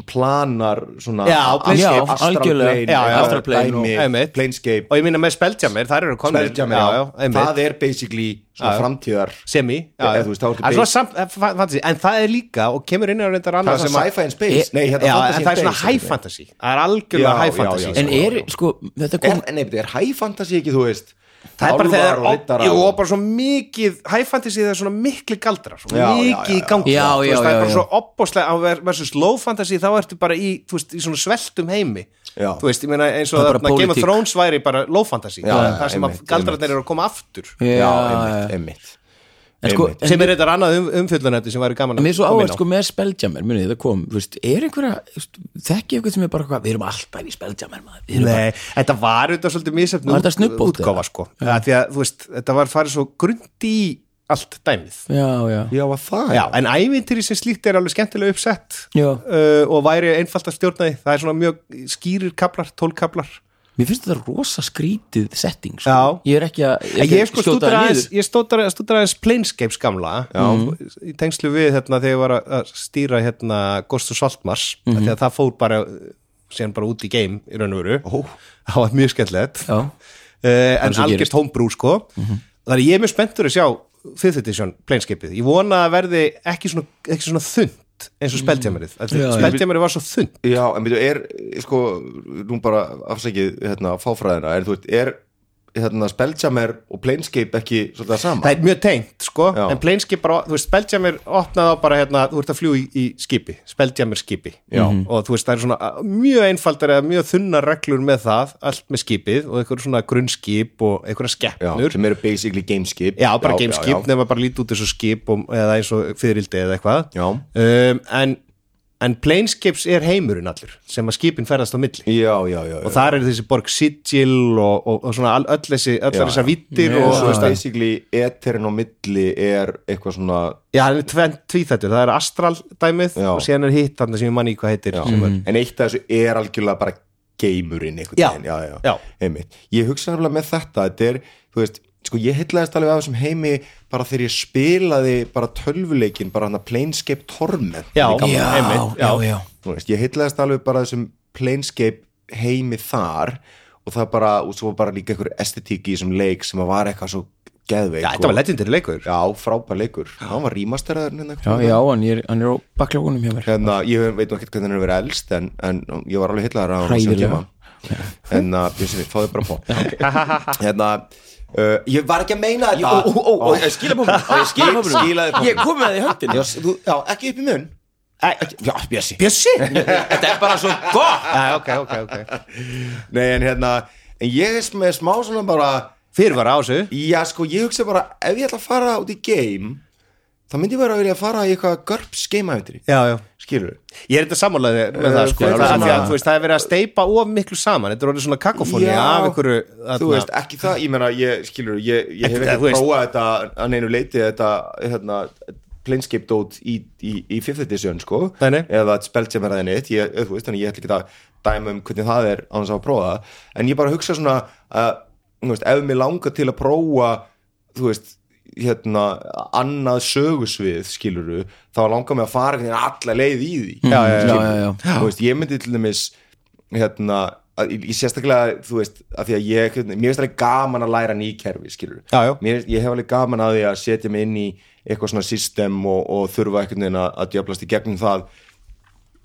G: planar svona
E: Já,
D: já,
G: astral, astral
D: algjörlega.
G: plane, eh,
E: Já, já.
D: Astral plane og-
G: dæmi,
E: Einmitt.
G: planescape
E: og ég minna með speltjamir, þar eru konir
G: Spelljammer, já. það er basically
E: Já,
G: svona
E: já.
G: framtíðar
E: semi
G: Já, eða þú veist, þá ertu
E: en, svo
G: base-
E: samt, en fa- fantasy, en það er líka og kemur inn á reyndar
G: það
E: annað
G: er svona sci-fi in space
D: Ég-
G: Nei,
E: já,
G: hérna fantasy
E: en það er
G: in
E: svona
G: space,
E: high
G: einhvern
E: fantasy það er algjörlega
G: Já,
E: high
G: já,
E: fantasy
G: já,
E: sko.
D: en er, sko, þetta kom
G: veginn. er, Nei, þetta er high fantasy ekki, þú veist
E: það er bara þegar
G: Álfar og riddarar
E: jú, og
G: og-
E: bara svo mikið high fantasy það er svona miklu galdrar svo
G: Já, já,
E: mikið
G: já,
E: í
G: já.
E: gangi
D: Já,
E: Þú
D: já,
E: veist, það
D: já,
E: er bara
D: já.
E: svo opbóslega á ver- versus low fantasy þá ertu bara í, þú veist, í svona sveltum heimi
G: Já.
E: þú veist, ég meina eins og
D: Það er bara
E: þarna Game of
D: pólitík.
E: Thrones væri bara low fantasy
G: Já,
E: það er
G: já,
E: það sem að
G: einmitt,
E: galdrarnir
G: einmitt.
E: eru að koma aftur
G: Já,
D: já,
G: einmitt, einmitt
D: en sko,
G: einmitt.
D: en
E: sem er þetta annað um, umfjöllunætti sem væri gaman að
D: Mér er svo
E: koma inn
D: áhægt
E: á.
D: sko með Spelljammer, munið það kom, þú veist, er einhverja, þú veist, þekki eitthvað sem er bara hvað, við erum alltaf í Spelljammer maður, við erum
E: Nei, þetta var auðvitað svolítið misjöfn
D: Var þetta snubbót,
E: útgáfa
D: eða?
E: sko ja. því að þú veist, þetta var farið svo grundi í allt dæmið
D: bara, já, já,
G: Já, var það
E: Já, en ævintýri sem slíkt er alveg skemmtilega uppsett
D: Já.
E: uh, og væri einfalt að stjórna því það er svona mjög skýrir kaplar, tólkaplar
D: mér finnst þetta rosa skrítið setting, sko,
E: Já.
D: ég er ekki að,
E: En
D: ekki
E: ég
D: að
E: sko
D: skjóta
E: stútur
D: það
E: aðeins
D: niður.
E: ég stútur aðeins Planescapes gamla já, í tengslu við hérna þegar ég var að- að stýra hérna Ghost of Saltmars mm því að það fór bara síðan bara út í game í raun og veru Ó. það var mjög skemmtilegt
D: Já.
E: uh, en
D: Eins og gerist.
E: algjörst homebrew sko þannig að ég er mjög spenntur að sjá 5th edition Planescapeið, ég vona að verði ekki svona, ekki svona þund þunnt eins og speltjámerið
D: Já, já.
E: speltjámerið var svo þunnt
G: Já, en byrju, er, sko, nú bara afsækið, hérna, fáfræðina, en þú veit, er, hérna, Spelljammer og Planescape ekki svolítið að sama?
E: það er mjög tengt sko
G: Já.
E: en plainskip bara, þú veist, speltjámer opnaði á bara hérna, þú ert að fljú í, í skipi speltjámer skipi Já. og þú veist, það er svona uh, mjög einfaldar eða mjög þunnar reglur með það, allt með skipið og einhver svona grunnskip og einhverja
G: Já,
E: skeppnur
G: sem eru basically gameskip.
E: Já, bara
G: já,
E: gameskip,
G: já.
E: nema bara lítið út eins og skip og, eða eins og fyririldi eða eitthvað
G: Já.
E: um, en, en planescapes er heimurinn allur sem að skipin ferðast á milli
G: Já, já, já.
E: og þar eru þessi borg sigil og, og, og svona all- öll þessi, öll
G: Já,
E: þessar
G: já.
E: vittir
G: og
E: og
G: svo veist, basically, eterin á milli er eitthvað svona,
E: já, hann er tvenn tvíþættur, það er astral dæmið
G: Já.
E: og síðan er hitt þarna sem ég manni í hvað heitir
G: já, Mm.
E: sem er,
G: en eitt af þessu er algjörlega bara geimurinn einhvern
E: Mhm. Já.
G: veginn, já, já.
E: já,
G: einmitt. Ég hugsa nefnilega með þetta þetta er, þú veist, sko ég heitlaðist alveg af þessum heimi bara þegar ég spilaði bara tölvuleikin, bara hann að Planescape Torment
E: já,
G: í gamla
D: Já,
G: daga.
D: já, já
G: Þú veist, ég heitlaðist alveg bara þessum Planescape heimi þar og það bara, og svo var bara líka einhver estetík í þessum leik sem að var eitthvað svo geðveik
E: já, þetta var
G: og-
E: legendary leikur
G: Já, frábær leikur, hann var rímasteraður hérna
D: Já, já, hann er, hann er á baklókunum hjá mér
G: hérna, ég veit nú ekkert hvernig hann er verið elst en, en ég var alveg hillaður á hann á sínum
D: Hræðilega.
G: tíma. en uh, bjössi við, fáðu bara pop hérna uh, ég var ekki að meina þetta ó, ó, ó, ó, skila popinu skila popinu skila
F: Ég kom með það í höndin
G: já, s- þú- já, ekki upp í mun Ekki- já, bjössi
E: Bjössi?
F: Þetta er bara svo gott
E: já, ok, ok, ok
G: nei, en hérna, en ég er með smá svona bara
E: fyrir var á þessu
G: já, sko, ég hugsa bara, ef ég ætla að fara út í game þá myndi ég bara vilja fara í eitthvað GURPS game-æventri,
E: já, já
G: skilur við
E: Ég er þetta sammálaði með það sko
G: fyrir
E: alveg af því
G: það
E: að,
G: sama.
E: þú veist, það er verið að steipa of miklu saman Þetta er orðið svona kakofóni
G: Já,
E: af einhverju
G: þú
E: þarna-
G: veist, ekki það, ég meina ég, skilur, ég, ég hef
E: Ekki það,
G: ekki
E: þú veist.
G: prófað þetta að neinu leiti þetta, hérna, planescape dót í, í, í 5. edition, sko
E: Nei, nei.
G: eða spelt sem er aðeins neitt ég, þú veist, þannig ég ætla ekki að dæma um hvernig það er án þess að prófa það, en ég bara hugsa svona að, þú veist, ef mér langar til að prófa, þú veist hérna, annað sögusvið skiluru, þá langar mér að fara einhvern veginn alla leið í því Mm. já, já,
D: já, já, já.
G: Þú veist, ég myndi til dæmis hérna, að, ég, ég sérstaklega þú veist, af því að ég, mér finnst alveg gaman að læra nýkerfi, skilur
E: Já, já.
G: Mér, ég hef alveg gaman að því að setja mig inn í eitthvað svona system og, og þurfa einhvern veginn að, að djöflast í gegnum það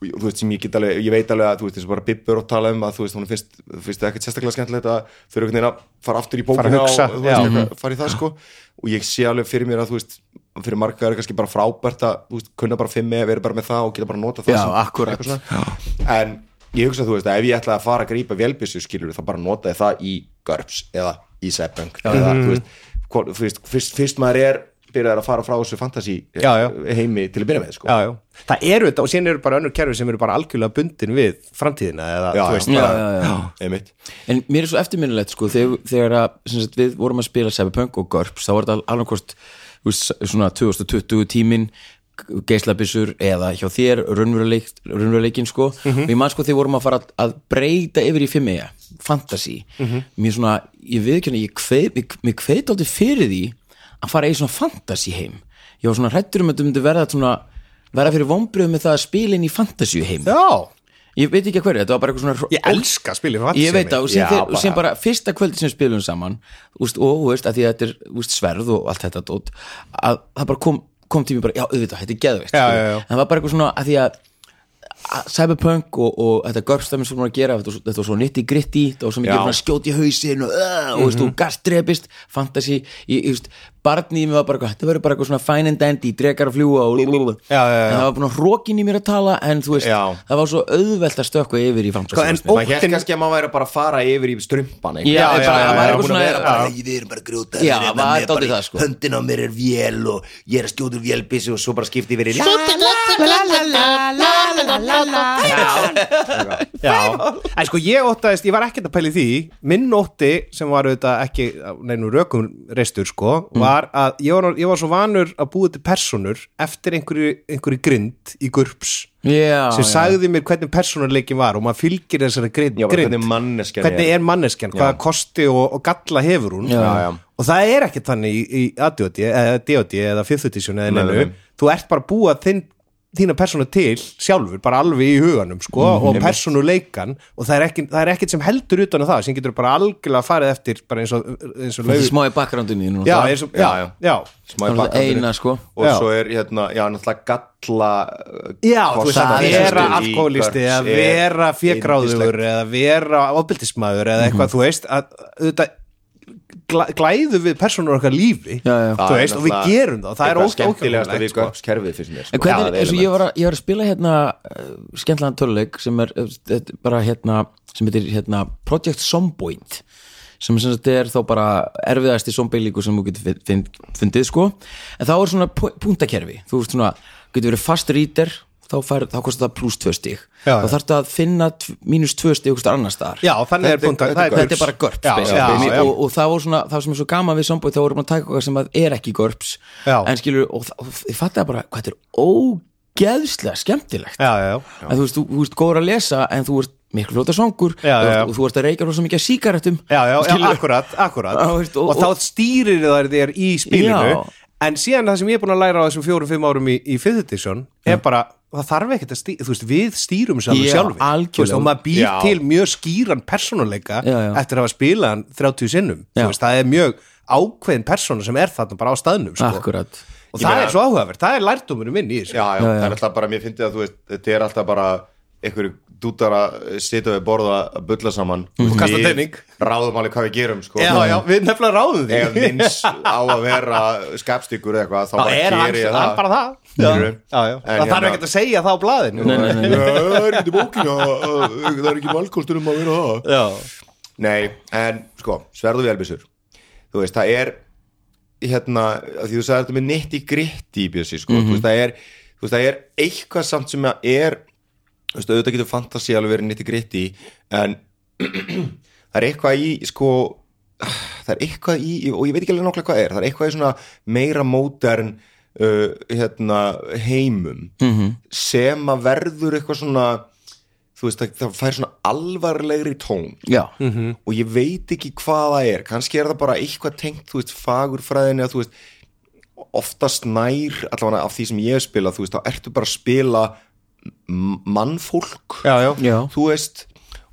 G: þú veist sem ég get alveg, ég veit alveg að þú veist eins og bara Bibbur og tala um að þú veist hún finnst, finnst ekkert sérstaklega skemmtilegt að þau eru einhvern veginn að fara aftur í bókina
E: Fara að hugsa,
G: og, þú
E: já.
G: veist, eitthvað, fara í það sko og ég sé alveg fyrir mér að þú veist fyrir marga er kannski bara frábært að þú veist, kunna bara fimm eða vera bara með það og geta bara nota það
D: Já,
G: sem-
D: akkúrat.
G: eitthvað svona. en ég hugsa þú veist að ef ég ætlaði að fara að grípa vélbissu skilur þá bara nota ég það í GURPS eða í Seppung eða þú veist, hvor, þú veist fyrst, fyrst maður er byrjar að fara frá þessu fantasy eh,
E: Já, já.
G: heimi til að byrja með sko.
E: já, já. Það eru þetta og síðan eru bara önnur kerfi sem eru bara algjörlega bundin við framtíðina eða,
G: Já,
E: þú veist,
G: já.
E: bara,
D: já, já, já.
G: einmitt
D: En mér er svo eftirminnilegt sko þegar, þegar að, sem sagt, við vorum að spila Cyberpunk og GURPS þá var þetta alveg hvort þú veist, svona 2020 tímin geislabissur eða hjá þér raunveruleik, raunveruleikin sko
E: Mhm.
D: og ég man sko þegar vorum að fara að, að breyta yfir í fimmega, fantasy
E: Mhm.
D: mér svona, ég viðkjörna ég kveið, mér, mér kveið aldrei fyrir því að fara í svona fantasy heim ég var svona hrættur um að þetta myndi verða svona verða fyrir vombriðum með það að spila inn í fantasy heim
E: já,
D: ég veit ekki að hverju, þetta var bara eitthvað svona
E: ég elska að spila
D: ég veit það og
G: Já,
D: síðan þeir- og
G: bara-
D: síðan bara fyrsta kvöldi sem við spilum saman úst, og þú veist að því að þetta er úst, sverð og allt þetta dót, að það bara kom, kom tími bara, já auðvitað, þetta er geðveikt
E: Já,
D: skilur.
E: já, já.
D: en það var bara eitthvað svona að því að að Cyberpunk og, og þetta görfstæmi sem hún var að gera, þetta var svo- þetta var svo nitti gritti þetta var svo mikið
G: Já.
D: svona skjóti í hausin og, uh, og
E: Mhm.
D: veist, þú gastdrepist, fantasy ég, ég veist, barnið í mér var bara eitthvað, þetta verður bara eitthvað svona fine and dandy, drekar að fljúa og lululul,
E: Já, já, já.
D: en það var búin að rókin í mér að tala en þú veist,
G: Já.
D: það var svo auðvelt að stökka yfir í fantasy
E: Sko, en
D: veist mér.
E: Óttinn-
G: maður hér kannski að maður væri bara að fara yfir í strumpan einhvern
D: Já,
E: Já,
D: já, bara,
E: já, já,
D: það var
E: já,
D: eitthvað
E: búin
D: svona
E: að vera bara-
H: Við erum bara grjótar
D: Já, það er dálítið það, sko.
H: hérna, Höndin á mér er vél og ég er að skjóta úr vélbissu og svo bara skipti yfir í
E: Já, en sko ég óttaðist, ég var ekkert að pæli því minn ótti sem var auðvitað ekki á neinu rökum reistur sko var að ég var, ég var svo vanur að búa til personur eftir einhverju, einhverju grind í gurps
D: Já,
E: sem
D: já.
E: sagði mér hvernig persónuleikin var og maður fylgir þessari grind,
G: Já, bara
E: grind.
G: hvernig manneskjan
E: hvernig
G: er.
E: er manneskjan, hvaða kosti og, og galla hefur hún
D: Já,
G: já.
E: og það er eh, ekkert þannig í, í ADOD eða DOD eða 50 eða
G: Nei, nei,
E: neinu
G: nei.
E: þú ert bara að búa þinn þína persónu til sjálfur, bara alveg í huganum sko,
G: Mhm.
E: og persónuleikan og það er, ekki, það er ekkit sem heldur utan að það sem getur bara algjörlega farið eftir bara eins og, eins og
D: Þetta er
E: laug
D: smá í bakgrándinni núna
E: já,
D: það.
E: eins og, já,
G: Já,
E: já,
G: já.
E: já,
G: smá í
D: Það er það
G: bakgrundinu.
D: eina, sko.
G: og
E: Já.
G: svo er hérna, já, náttúrulega galla uh,
E: já þú veist
G: kostnaður
E: að
G: sem
E: vera
G: er í
E: alkoholisti
G: börns
E: eða
G: er
E: vera
G: yndislegt.
E: fjögráður eða vera ofbildismæður eða eitthvað, þú veist að, auðvitað gla- glæðu við persónur okkar lífi
D: Já, já.
E: þú veist, og við
G: náttúrulega
E: gerum það, og það er
G: eitthvað
E: ógeð-
G: skemmtilegasta við
E: ógeðlegt, sko.
G: göpskerfið fyrir mér
D: En
G: sko.
D: hvernig,
G: Það
D: eins og
G: element.
D: ég var, að, ég var að spila hérna uh, skemmtlaðan töluleik sem er uh, þetta er bara hérna sem heitir hérna Project Zomboid sem sem þetta er þá bara erfiðasti zombielíku sem þú getur fin- fin- fundið sko en þá er svona pu- punktakerfi þú veist svona, getur verið fast rítir þá, fær, þá kostar það pluss tvö stíg
E: Já,
D: þá
E: já.
D: þarf það að finna tv- mínus tvö stíg okkur annar staðar
E: já, þannig er búnda
D: þetta er bara GURPS
E: já,
D: basically.
E: já, já,
D: Og, og það var svona, það sem er svo gaman við sambúið þá vorum við að taka okkar sem að er ekki GURPS
E: Já.
D: en skilur, og, það- og ég fattaði bara hvað þetta er ógeðslega skemmtilegt
E: já, já,
D: en þú veist, þú, þú veist góður að lesa en þú ert miklu fljóta songur
E: Já,
D: og,
E: já, já.
D: og þú ert að reykja rosa mikið að sígarettum
E: já, já, já
D: Skilurðu?
E: akkurat, akkurat.
D: Já, veist,
E: og,
D: og-
E: þá stýrir það þér í spilinu
D: Já.
E: en síðan það sem ég er búin að læra á þessum fjórum, fimm árum í, í fifth edition er bara, það þarf ekkert að stýra þú veist, við stýrum sér alveg
D: Já,
E: sjálfi
D: algjörlega.
E: Þú veist, og maður býr
G: Já.
E: til mjög skýran persónuleika
D: Já, já.
E: eftir að hafa spilað hann 30 sinnum Þú
D: Já.
E: veist, það er mjög ákveðin persóna sem er þarna bara á staðnum sko.
D: akkurat
E: og það er svo áhugavert, það er lærdómurinn minn í þessu
G: já, já, það er alltaf bara, mér fyndi að þú veist þetta er alltaf bara einhverju dútar að sitja við borða að bulla saman og
E: Mhm. kasta tening.
G: ráðum alveg hvað við gerum sko.
E: já, já, við nefnilega ráðum því
G: ef minns á að vera skapstykkur eða eitthvað þá
E: þá
G: bara
E: er hann,
G: gerir ég
E: hann bara það já, já,
G: Skilurðu?
E: já.
G: En
E: það þarf
G: hérna-
E: ekkert að segja það á blaðinu
G: það er ekki bókin það er ekki valkostur um að vera það
E: já
G: Nei, en sko, sverðu velbissur Þú veist, það er hérna, af því þú sagði þetta með nýtt í gritti í bjössi, sko, þú veist, það er þú veist, það er eitthvað samt sem að er þú veist, auðvitað getur fantasi alveg verið nýtt í gritti, en það er eitthvað í, sko það er eitthvað í, og ég veit ekki alveg nokkla hvað er það er eitthvað í svona meira mótern uh, hérna, heimum
D: Mhm.
G: -hmm. sem að verður eitthvað svona þú veist, það, það fær svona alvarlegri tón
D: já,
E: Mhm.
G: og ég veit ekki hvað það er kannski er það bara eitthvað tengt, þú veist, fagurfræðinni að þú veist, oftast nær allavega af því sem ég hef spilað, þú veist, þá ertu bara að spila m- mannfólk
E: já, já.
D: já,
G: þú veist,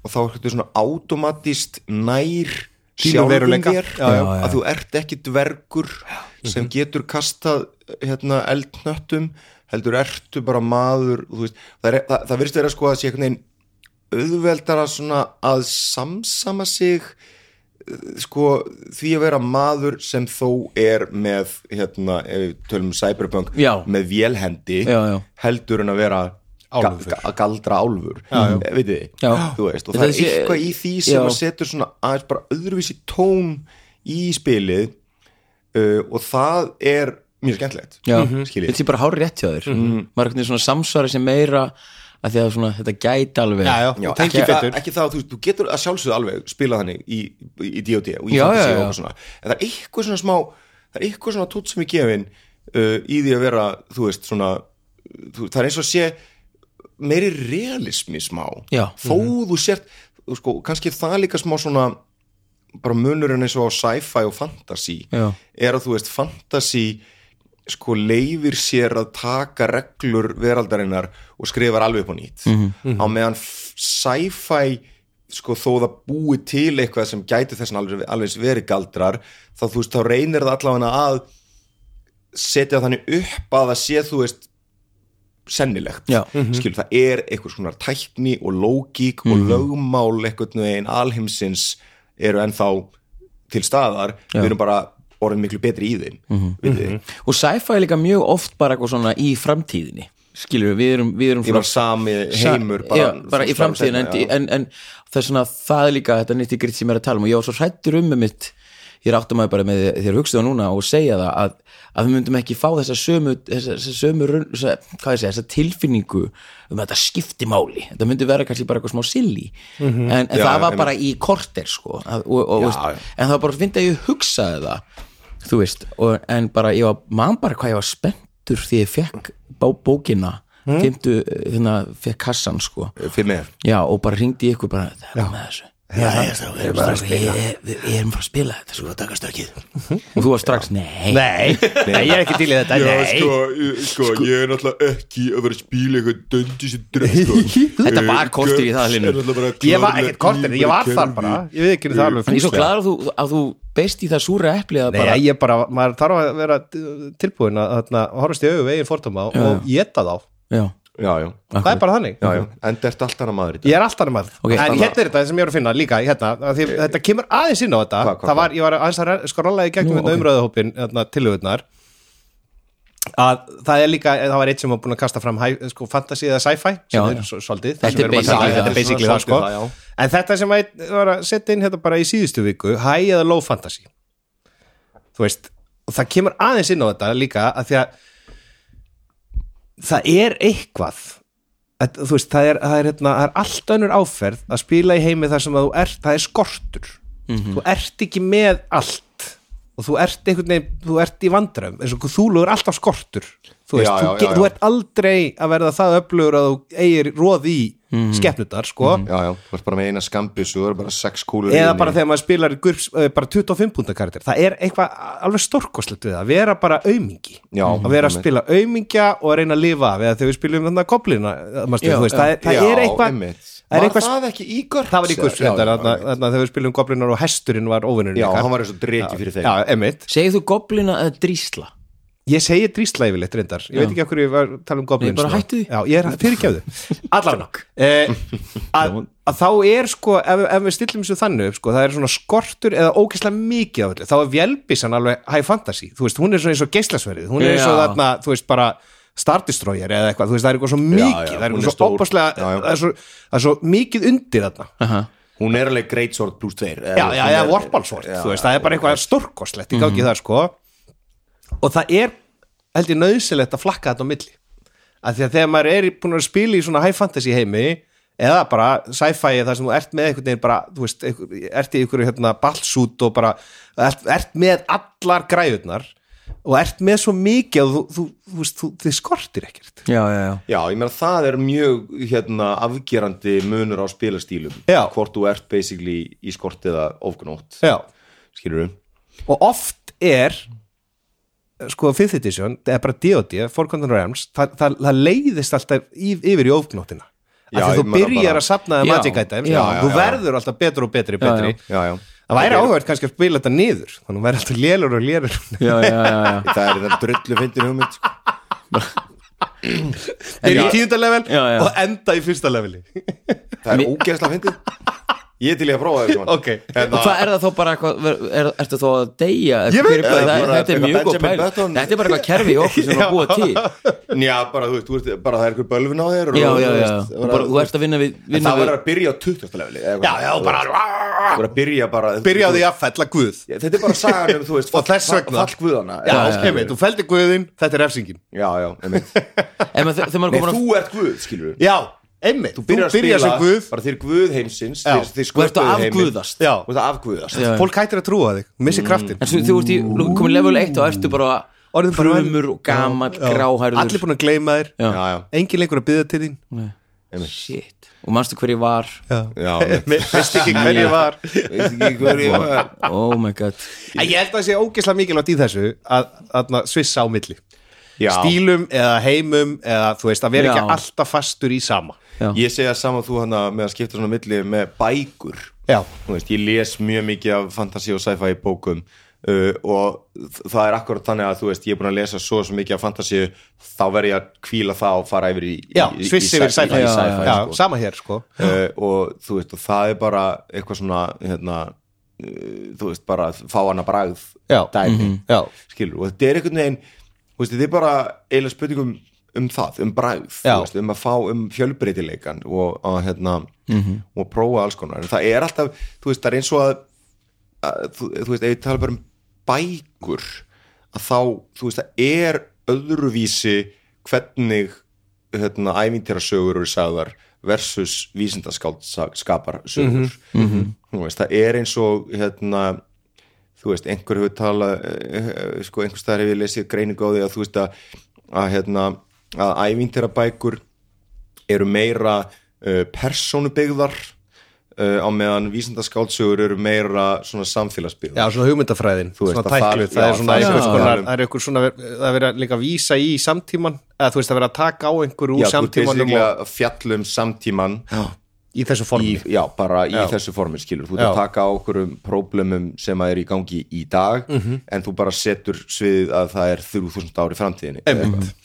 G: og þá ertu svona automatist nær
E: Þínu
G: sjálfum
E: veruleika.
G: þér
E: Já,
D: já. Mhm.
G: að þú ert ekki dvergur sem getur kastað hérna, eldnöttum heldur ertu bara maður þú veist, það, er, það, það virðist vera sko að sé einhvern veginn auðveldara svona að samsama sig eh, sko því að vera maður sem þó er með hérna, ef við tölum um cyberpunk
D: Já.
G: með vélhendi
D: Já, já.
G: heldur en að vera ga-
E: Álfur.
G: ga- galdra álfur já, já. vitið þið
D: Já.
G: Þú veist, og
D: Þetta
G: það er
D: sé-
G: eitthvað í því sem
D: Já.
G: að setur svona aðeins bara öðruvísi tón í spilið uh, og það er mjög skemmtilegt
D: já.
E: Mhm.
G: Skiljið.
D: þetta er bara hár rétt hjá þér maður er einhvern veginn svona samsvari sem meira að því að svona, þetta gæti alveg
E: Já, já, og
G: Já, ekki,
E: tengi
G: það,
E: betur
G: ekki það að þú, þú getur að sjálfsögðu alveg spila þannig í, í, í D&D og í
D: Já,
G: fantasy
D: já, já.
G: og eitthvað svona en það er eitthvað svona smá það er eitthvað svona tótt sem er gefin uh, í því að vera, þú veist, svona þú, það er eins og sé meiri realismi smá
D: Já. Mhm.
G: þó þú sért, þú sko, kannski er það líka smá svona bara munurinn eins og á sci-fi og fantasy
D: Já.
G: er að þú veist, fantasy sko leifir sér að taka reglur veraldarinnar og skrifar alveg upp á nýtt á meðan f- sci-fi sko þó það búi til eitthvað sem gæti þessan alveg, alveg verið galdrar þá þú veist, þá reynir það allavega að setja þannig upp að það sé þú veist sennilegt,
D: Já. Mhm.
G: skil það er eitthvað svona tækni og lógík og lögmál eitthvað veginn alheimsins eru ennþá til staðar, við erum bara orðin miklu betri í þeim
D: Mhm.
G: mm -hmm.
D: og sci-fi er líka mjög oft bara eitthvað svona í framtíðinni skilur við, við erum, við erum
G: ég var sami heimur
D: bara, já, bara í framtíðin en,
G: já.
D: en, en það er svona það er líka þetta nýtti gritt sem ég er að tala um og ég var svo hrættur um með mitt ég áttum maður bara með þér hugstuða núna og segja það að, að við myndum ekki fá þessa sömu, þessa, þessa sömu raun, þessa, hvað ég segja, þessa tilfinningu um að þetta skipti máli þetta myndi vera kannski bara eitthvað smá silly en, en
G: Mhm. Já,
D: það var
G: einmitt.
D: bara í korter sko, að, og, og, veist, en það var bara fyndi að ég hugsaði það þú veist, og, en bara ég var man bara hvað ég var spenntur því ég fekk bá, bókina
G: Mhm.
D: mm. fymtu, hérna, fekk kassan sko
G: fyrir mér
D: Já, og bara ringdi í ykkur bara, það er með þessu Já, já, strákar, við erum bara að spila Við erum bara að spila þetta sko að taka stökkið Og þú var strax, nei
E: Nei, nei, ég er ekki til í þetta
G: Já,
E: nei.
G: sko, ég- sko, ég er náttúrulega ekki að vera að spíla eitthvað döndi sem dröð sko.
D: Þetta var korter í það, Hlynur.
E: Ég var ekkert kortir, ég var þar bara Ég veit ekki það alveg
D: Þannig ég er svo
E: fúslega.
D: glaður að þú, að þú beist í það súra epli að bara
E: Nei, ég bara, maður þarf að vera tilbúin að þarna, horfast í auðu veginn fordóma og geta þá
D: Já,
G: Já, já,
E: Það er bara þannig
G: já, já, en þetta er allt annað maður í dag
E: Ég er alltaf annar maður
D: Ok,
E: En
D: þannig-
E: hérna er þetta sem ég er að finna líka hérna, að því, Þetta kemur aðeins inn á þetta
G: Hvað, hvað,
E: Það var, ég var aðeins að skrolla í gegnum okay. umröðuhópin hérna, tilhugurnar að það er líka, það var eitt sem var búin að kasta fram hæ- sko, fantasy eða sci-fi sem
D: Já,
E: er
D: já.
E: svo- svolítið
D: Þetta
E: það sem
D: er
E: við erum
D: basically
E: að tala um,
D: það.
E: þetta er basically það sko
G: Svolítið það,
E: en þetta sem að var að setja inn hérna bara í síðustu viku high eða low fantasy þú veist, og það kemur aðeins inn á þetta líka að því að það er eitthvað að, þú veist, það er, það er, hérna, það er allt önnur áferð að spila í heimi þar sem að þú ert, það er skortur
G: Mhm.
E: þú ert ekki með allt og þú ert einhvern veginn, þú ert í vandræðum eins og þú er alltaf skortur þú veist,
G: Já,
E: þú,
G: já,
E: get,
G: já,
E: þú
G: já.
E: ert aldrei að verða það öflugur að þú eigir róð í
G: Mhm.
E: skepnutar, sko
G: Já, já, þú ert bara með eina skambis og þú eru bara sex kúlur
E: eða bara þegar maður spilar í GURPS, eh, bara 25 púnta karakter það er eitthvað alveg stórkoslegt við það að vera bara aumingi
G: Já,
E: að vera að
G: einmitt.
E: spila aumingja og að reyna að lifa af eða þegar við spilum þarna koblina manstu,
D: Já,
E: þú veist, það, er- það
G: Já,
E: er eitthvað
G: einmitt.
E: það er
G: Var
E: eitthvað
G: það ekki í GURPS?
E: það var í GURPS
G: Já,
E: reyndar,
G: já,
E: þarna-
G: einmitt.
E: þarna þegar við spilum koblinar og hesturinn var óvinnurinn
G: Já,
E: ykkar.
G: hann var eins og dreki fyrir þeim
E: já, emitt
D: segir þú goblina eða drísla
E: Ég segi drísla yfirleitt reyndar Ég veit ekki okkur ég var að tala um goblins
D: Nei, bara
E: núna.
D: hættu því.
E: Já, ég er fyrirgjöðu Allan eh, að, að þá er sko ef, ef við stillum þessu þannig upp sko, það er svona skortur eða ógeðslega mikið af öllu þá er Vjelbísan alveg high fantasy þú veist, hún er svona eins og geislasverið hún er eins og
D: Já.
E: þarna, þú veist, bara startistrójar eða eitthvað, þú veist, það er eitthvað svo mikið
G: já,
E: það er
G: hún
E: eitthvað
G: er
E: svo
G: stór.
E: opaslega
G: Já, já.
E: það er svo- það er svo mikið undir þarna
G: Hún er alveg Great Sword plus 2
E: já, já, já, vorpálsvort, þú veist, það er bara eitthvað stórkoslegt, ég gangi það sko og það er, held ég, nöðsilegt að flakka þetta á milli af því að þegar maður er búin að spila í svona high fantasy heimi eða bara sci-fi þar sem þú ert með einhvern veginn bara, þú veist, einhver, ert í einhverju hérna ballsút og bara ert, ert með allar græðunar og ert með svo mikið og þú, þú, þú veist, þú, þið skortir ekkert
D: Já, já, já
G: Já, ég meina það er mjög hérna, afgerandi munur á spilastílum
E: Já.
G: hvort þú ert basically í skortiða ofgnótt,
E: Já.
G: skilur við
E: og oft er sko 5th edition, það er bara D.O.D. Forgotten Realms, það, það, það leiðist alltaf í, yfir í ofgnóttina af því
G: Já, ég
E: þú
G: meina
E: byrjar
G: bara-
E: að sapna
D: Já,
E: magic items
D: já,
E: þú verður alltaf betur og betri, betri.
G: Já, já
E: það væri áhverð kannski að spila þetta niður þannig að verður alltaf lélur og lélur
D: Já, já, já, já.
G: Það er þetta drullu fyndin hugmynd sko.
E: er í tíunda level
D: Já, já.
E: og enda í fyrsta leveli
G: Það er ógeðslega fyndin Ég er til í að prófa Hérna- þetta
E: Ok.
D: Og hvað er það þá bara eitthvað ver- er, Ertu þá að deyja Ég veit
G: það, bara
D: Þetta er
G: eitthvað
D: mjög góð
G: Benjamin
D: pæl
G: Button.
D: Þetta er bara eitthvað kerfi í okkur sem er að búa til
G: Já, bara þú veist, þú veist, bara það er einhver bölvin á þér og-
D: Já, já,
G: þú
D: já
G: veist,
D: Þú bara- Þú ert að vinna við
G: En
D: vinna
G: það
D: við-
G: verður að byrja á 20. leveli Já, já, bara Þú verður að byrja bara
E: byrja á því að fella guð
G: Ég- Þetta er bara sagan um, þú veist,
E: Og þess vegna.
G: fallguðana
E: já, ok, þú feldi guðin, þetta er refsingin
G: já, já, einmitt
D: En maður- þegar maður
G: Nei,
D: komur að
G: þú ert guð, skilur við
E: já, einmitt, þú byrjar, sem guð
G: bara þeir guð heimsins
E: Já.
G: þeir, þeir
D: Þú ert
G: sköpuðu
D: að
G: heiminn.
D: afguðast
E: já,
G: þú ert að afguðast
D: Já. Mm.
E: fólk hættir að trúa þig, missi kraftin
D: En svo þú ert í komin level 1 og ertu bara
E: Orðin bara-
D: Frumur og gamall, gráhærður
E: allir búin að gleyma þér
D: Já.
G: já, já,
E: engin lengur að byggja til þín
D: Shit Og manstu hver ég var
G: já einmitt.
E: veist ekki hver ég var
G: Veist ekki hver ég var.
D: Oh my god
E: en ég held að það sé ógeðslega mikilvægt í þessu að, að svissa á milli
G: já,
E: stílum eða heimum eða þú veist að vera
D: Já.
E: ekki alltaf fastur í sama
D: Já.
G: ég segja saman þú hana með að skipta svona á milli með bækur
E: já,
G: þú veist, ég les mjög mikið af fantasy og sci-fi bókum uh, og þ- það er akkurat þannig að þú veist, ég er búin að lesa svo svo mikið af fantasy þá verð ég að kvíla það og fara yfir í, í,
E: já
G: í, í,
E: sviss yfir sci-fi
G: í
E: já,
G: sci-fi
E: já,
G: sko.
E: sama hér sko
G: uh, og þú veist og það er bara eitthvað svona hérna, uh, þú veist bara fáana bragð
E: Já.
G: dæmi
D: Mhm.
E: já,
G: skilur og þetta er einhvern veginn þú veist, þetta er bara eiginlega spurningum um það, um bragð þú
E: Já.
G: veist, um að fá um fjölbreytileikan og að hérna og prófa alls konar, en það er alltaf þú veist, það er eins og að, að þú, þú veist, ef ég tala bara um bækur að þá, þú veist, það er öðruvísi hvernig hérna, ævintýrasögur eru sagðar versus vísindaskáldskapar sögur þú veist, það er eins og hérna þú veist, einhver hefur talað eh, eh, sko, einhver staðar hefur ég lesið greiningu á því að þú veist að, að hérna að ævintýrabækur eru meira uh, eh, persónubyggðar uh, á meðan vísindaskáldsögur eru meira svona samfélagsbyrð
E: Já, svona hugmyndafræðin,
G: Þú veist,
E: svona
G: að
E: tæklu
G: það-
E: það
G: já,
E: er svona
G: það er
E: einhvers
G: svona-
E: konar,
G: já.
E: það er einhver svona það er verið að líka að vísa í samtíman eða þú veist að vera að taka á einhverju úr
G: Já, þú ert
E: samtímanum og,
G: basically að fjalla um samtíman
E: í þessu formi
G: í, já, bara í
E: Já.
G: þessu formi skilur þú ert að
E: Já.
G: taka á okkurum próblemum sem að er í gangi í dag
E: Mhm.
G: en þú bara setur sviðið að það er 3000 ári framtíðinni eða eitthvað.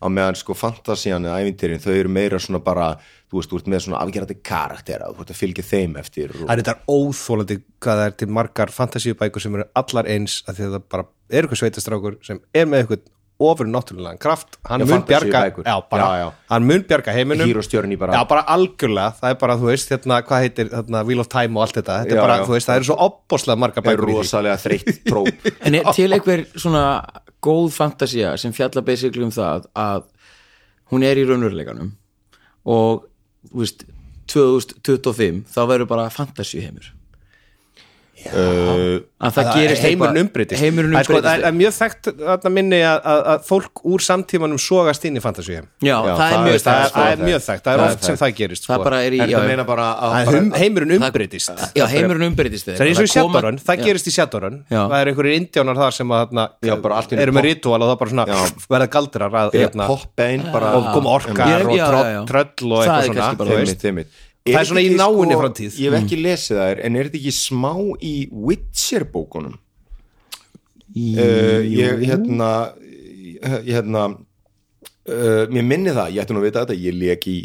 G: á meðan sko fantasían eða ævintýrin þau eru meira svona bara þú veist, þú ert með svona afgerandi karaktera þú ert að fylgja þeim eftir og,
E: Það er þetta óþólandi hvað það er til margar fantasíubækur sem eru allar eins að því að það bara er eitthvað sveitastrákur sem er með eitthvað ofur náttúrulegan kraft hann
G: Já,
E: mun bjarga,
G: fantasíubækur.
E: já, bara,
G: Já, já.
E: hann mun bjarga heiminum
G: Hírostjörn í bara-
E: já, bara algjörlega, það er bara, þú veist, hérna, hvað heitir hérna, Wheel of Time og allt þetta, þetta er
G: Já,
E: bara,
G: já.
E: þú veist, það eru svo opboslega margar
G: er
E: bækur í því
G: rosalega þreytt prób
D: En er til einhver svona góð fantasía sem fjalla basically um það að hún er í raunveruleikanum og þú veist, 2025 þá verður bara fantasíu heimur
G: uh,
D: að það gerist
E: heimurinn
D: eitthvað-
E: umbreytist
D: heimurinn
E: Það er sko-
D: umbreytist
E: það er- það er mjög þekkt þarna minni að, að, að fólk úr samtímanum sogast inn í fantasíum
D: já,
G: Já,
D: það er
G: það
D: mjög sko.
G: er-
E: það, er-
D: það,
E: það er mjög þekkt, það er
G: Það er
E: oft sem
G: þekkt.
E: það gerist
D: það
E: sko.
D: bara er í
G: er
D: já,
G: það meina bara að,
E: Að
G: bara,
E: hum- heimurinn
D: það-
E: umbreytist
D: já, heimurinn umbreytist
E: það er eins og í Shadowrun, það gerist í Shadowrun
D: Já.
E: það eru einhverjir indjánar þar sem að þarna,
G: Já, bara allt í einu
E: eru með
G: pop-
E: ritual og það bara svona
G: Já.
E: verða galdrar að
G: byrja
E: hérna,
G: popbein bara um
E: og koma orkar
D: Ég-
E: og
D: já, já,
E: tröll,
D: já.
E: tröll
D: Það
E: og eitthvað
D: er
E: svona
D: kannski bara-
E: þú
G: Einmitt,
E: veist.
G: einmitt.
E: Það er
G: þetta
E: svona í
G: ekki, sko,
E: náinni framtíð. Mm.
G: Ég hef ekki lesið það er, en er þetta ekki smá í Witcher bókunum? Uh, ég hérna ég hérna uh, mér minni það, ég ætti nú að vita þetta ég lék í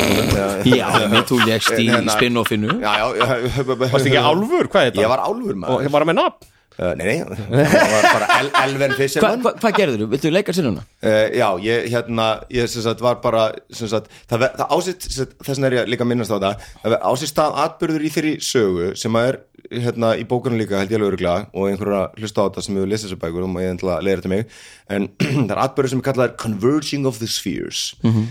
G: já,
D: já, mér þú legst í
G: Hérna-
D: spin-offinu
G: já, já
E: varst ekki álfur, hvað er þetta?
G: Ég var álfur
E: og
G: maður
E: ég var með nafn
G: Uh, Nei, nei, það var bara El Elven
D: Hva-
G: Fisherman
D: hva- hvað gerður þú? Viltu leika sér hana?
G: Uh, já, ég hérna, ég sem sagt var bara sem sagt, það, ver- það ásett sem sagt, þess vegna er ég líka að minnast á það það ásett stað atbyrður í þeirri sögu sem að er hérna í bókunum líka held ég alveg örgla og einhverja hlusta á þetta sem hefur lesið þessu bækur og maður ég ætla að leiða þetta mig en það er atbyrður sem er kallað Converging of the Spheres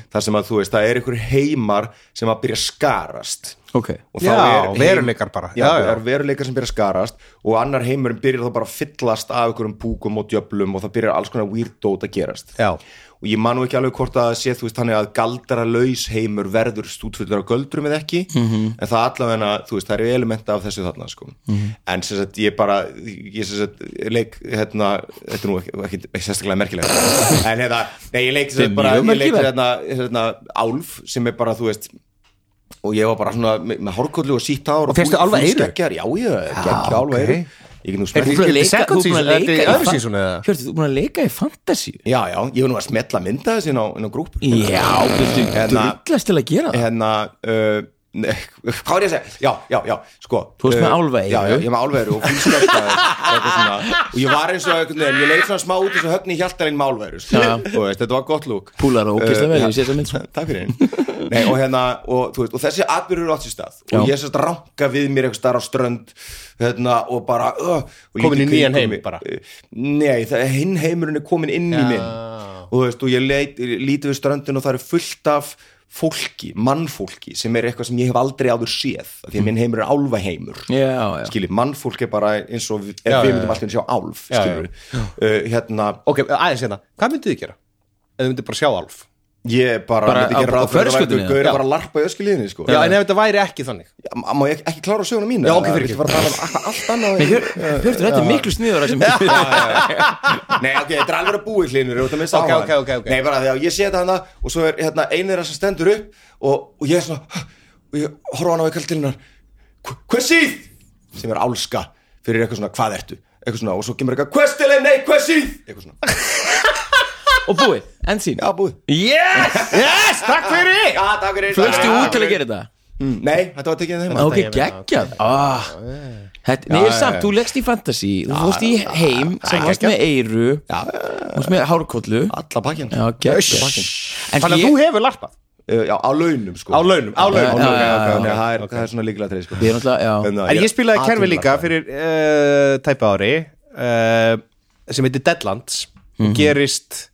G: þar sem að þú veist, það er einhver heimar sem að byrja að skarast
D: ok,
G: og
E: Já,
G: heim-
E: veruleikar bara.
G: já,
E: Já, já.
G: er veruleikar sem byrja að skarast og annar heimurinn byrjar þá bara að fyllast af einhverjum púkum og djöflum og það byrjar alls konar weird dót að gerast
E: Já.
G: og ég man nú ekki alveg hvort að sé þú veist þannig að galdara laus heimur verður stútfullur á göldrum eða ekki -hmm. en það allavega, þú veist, það eru elementa af þessu þarna sko, -hmm. en sem sagt ég bara, ég sem sagt leik hérna, þetta er nú ekki, ekki, sérstaklega merkilegt, en hérna nei, ég leik, sem sagt, bara, ég leik hérna, hérna álf sem er bara, þú veist og ég var bara svona með, með hárkollu og sítt ár
E: Og fékkstu
G: fúl-
E: alveg eyru?
G: fúlskeggjar, já, já, geggja alveg eyru ég get nú
D: Er þú búin að
E: Þetta
G: smelt
E: er
D: leika-
E: second
D: þú búin
E: season,
D: að leika
E: þetta er í
D: í
E: öðru
D: fan-
E: season eða?
D: Hjörtur, þú búin að leika í fantasy
G: já, já, ég var nú að smetla mynda þessi inn á, inn á Hérna, grúpu
D: já, viltu
E: Hérna.
D: drullast til að gera það
G: hérna uh, nei, hvað er ég að segja, já, já, já sko,
D: Þú varst með
G: uh,
D: álfaeyru.
G: já, já, ég er með álveru og fúlskeggjar og eitthvað svona. Og ég var eins og einhvern veginn, ég leik svona smá út eins og högni hjaltarinn með álveru
D: Já.
G: veist, þetta var gott lúk
D: púlar og ógist að
G: Eh,
D: verða,
G: ja.
D: ég sé það mynd svo
G: Takk fyrir Nei, og, hérna, og, þú veist, og þessi atbyrður átt sér stað og
D: Já.
G: ég sérst ranka við mér eitthvað starf á strönd hérna, og bara uh, og
E: Komin
G: lít
E: í nýjan
G: kringum
E: heim
G: mig.
E: bara.
G: Nei, það, hinn heimurinn er komin inn í minn og, þú veist, og ég leit, líti við ströndin og það er fullt af fólki, mannfólki sem er eitthvað sem ég hef aldrei áður séð af því að
E: Mm.
G: minn heimur er álfaheimur
D: já, já,
G: skilji, mannfólk er bara eins og við, já,
E: Já, já,
G: við myndum
E: já.
G: alltaf að sjá álf
E: Já, já.
G: skilur Uh, hérna,
E: ok, aðeins hérna, hvað myndið þið gera? ef þið myndið bara sjá álf
G: ég bara,
D: Bara
G: myndi
D: á-
G: gera
D: á
G: ráð fyrir að það væri
D: förskutinu,
G: einhver gaur
D: já.
G: bara að larpa í öskulíðinni sko.
E: já, en ef þetta væri ekki þannig
G: Já, ma- má ég ekki klára söguna mín?
E: Já, ok, fyrir
G: ekki. Það var bara að tala um allt annað.
D: Hjör- Hjörtur, þetta er miklu sniður sem
G: Nei, ok, þetta er alveg að búi klínur, þú veist að
E: Ok,
G: missa á
E: ok,
G: hann.
E: ok, ok.
G: Nei, bara þegar ég sé þetta hana og svo er hérna einir þeirra sem stendur upp og, og ég er svona, og ég horfa hann á eitthvað til hennar. "Hva- Hvað síð? Sem er álska fyrir eitthvað svona, hvað ertu? Eitthvað svona, og svo kemur eitthvað, hvað stil er nei, hvað síð? Eitthvað svona,
D: og búið, enn sín
G: já, búið.
D: yes,
E: yes, takk fyrir
G: Já, takk fyrir.
D: flögstu út til að gera þetta
G: Mm, Nei, þetta var tekið þeim.
D: ok, geggjað ah. Þetta- Nei, ég er samt, þú leggst í fantasy þú fórst í heim sem varst með eiru þú varst með hárkollu
G: Alla pakkin.
D: já, geggjað En
E: þannig að
D: ég-
E: þú hefur larpað
G: Uh, já, á launum, sko.
E: á launum, á
G: Já,
E: launum
D: já, já,
G: ok, ok, ok,
D: já.
G: það er- það er svona líkilega treið, sko.
D: Ég er náttúrulega, já.
G: En það-
E: En ég spilaði kerfi
G: athugla
E: líka
G: það.
E: fyrir uh, tæpa ári uh, sem heitir Deadlands og eh, gerist,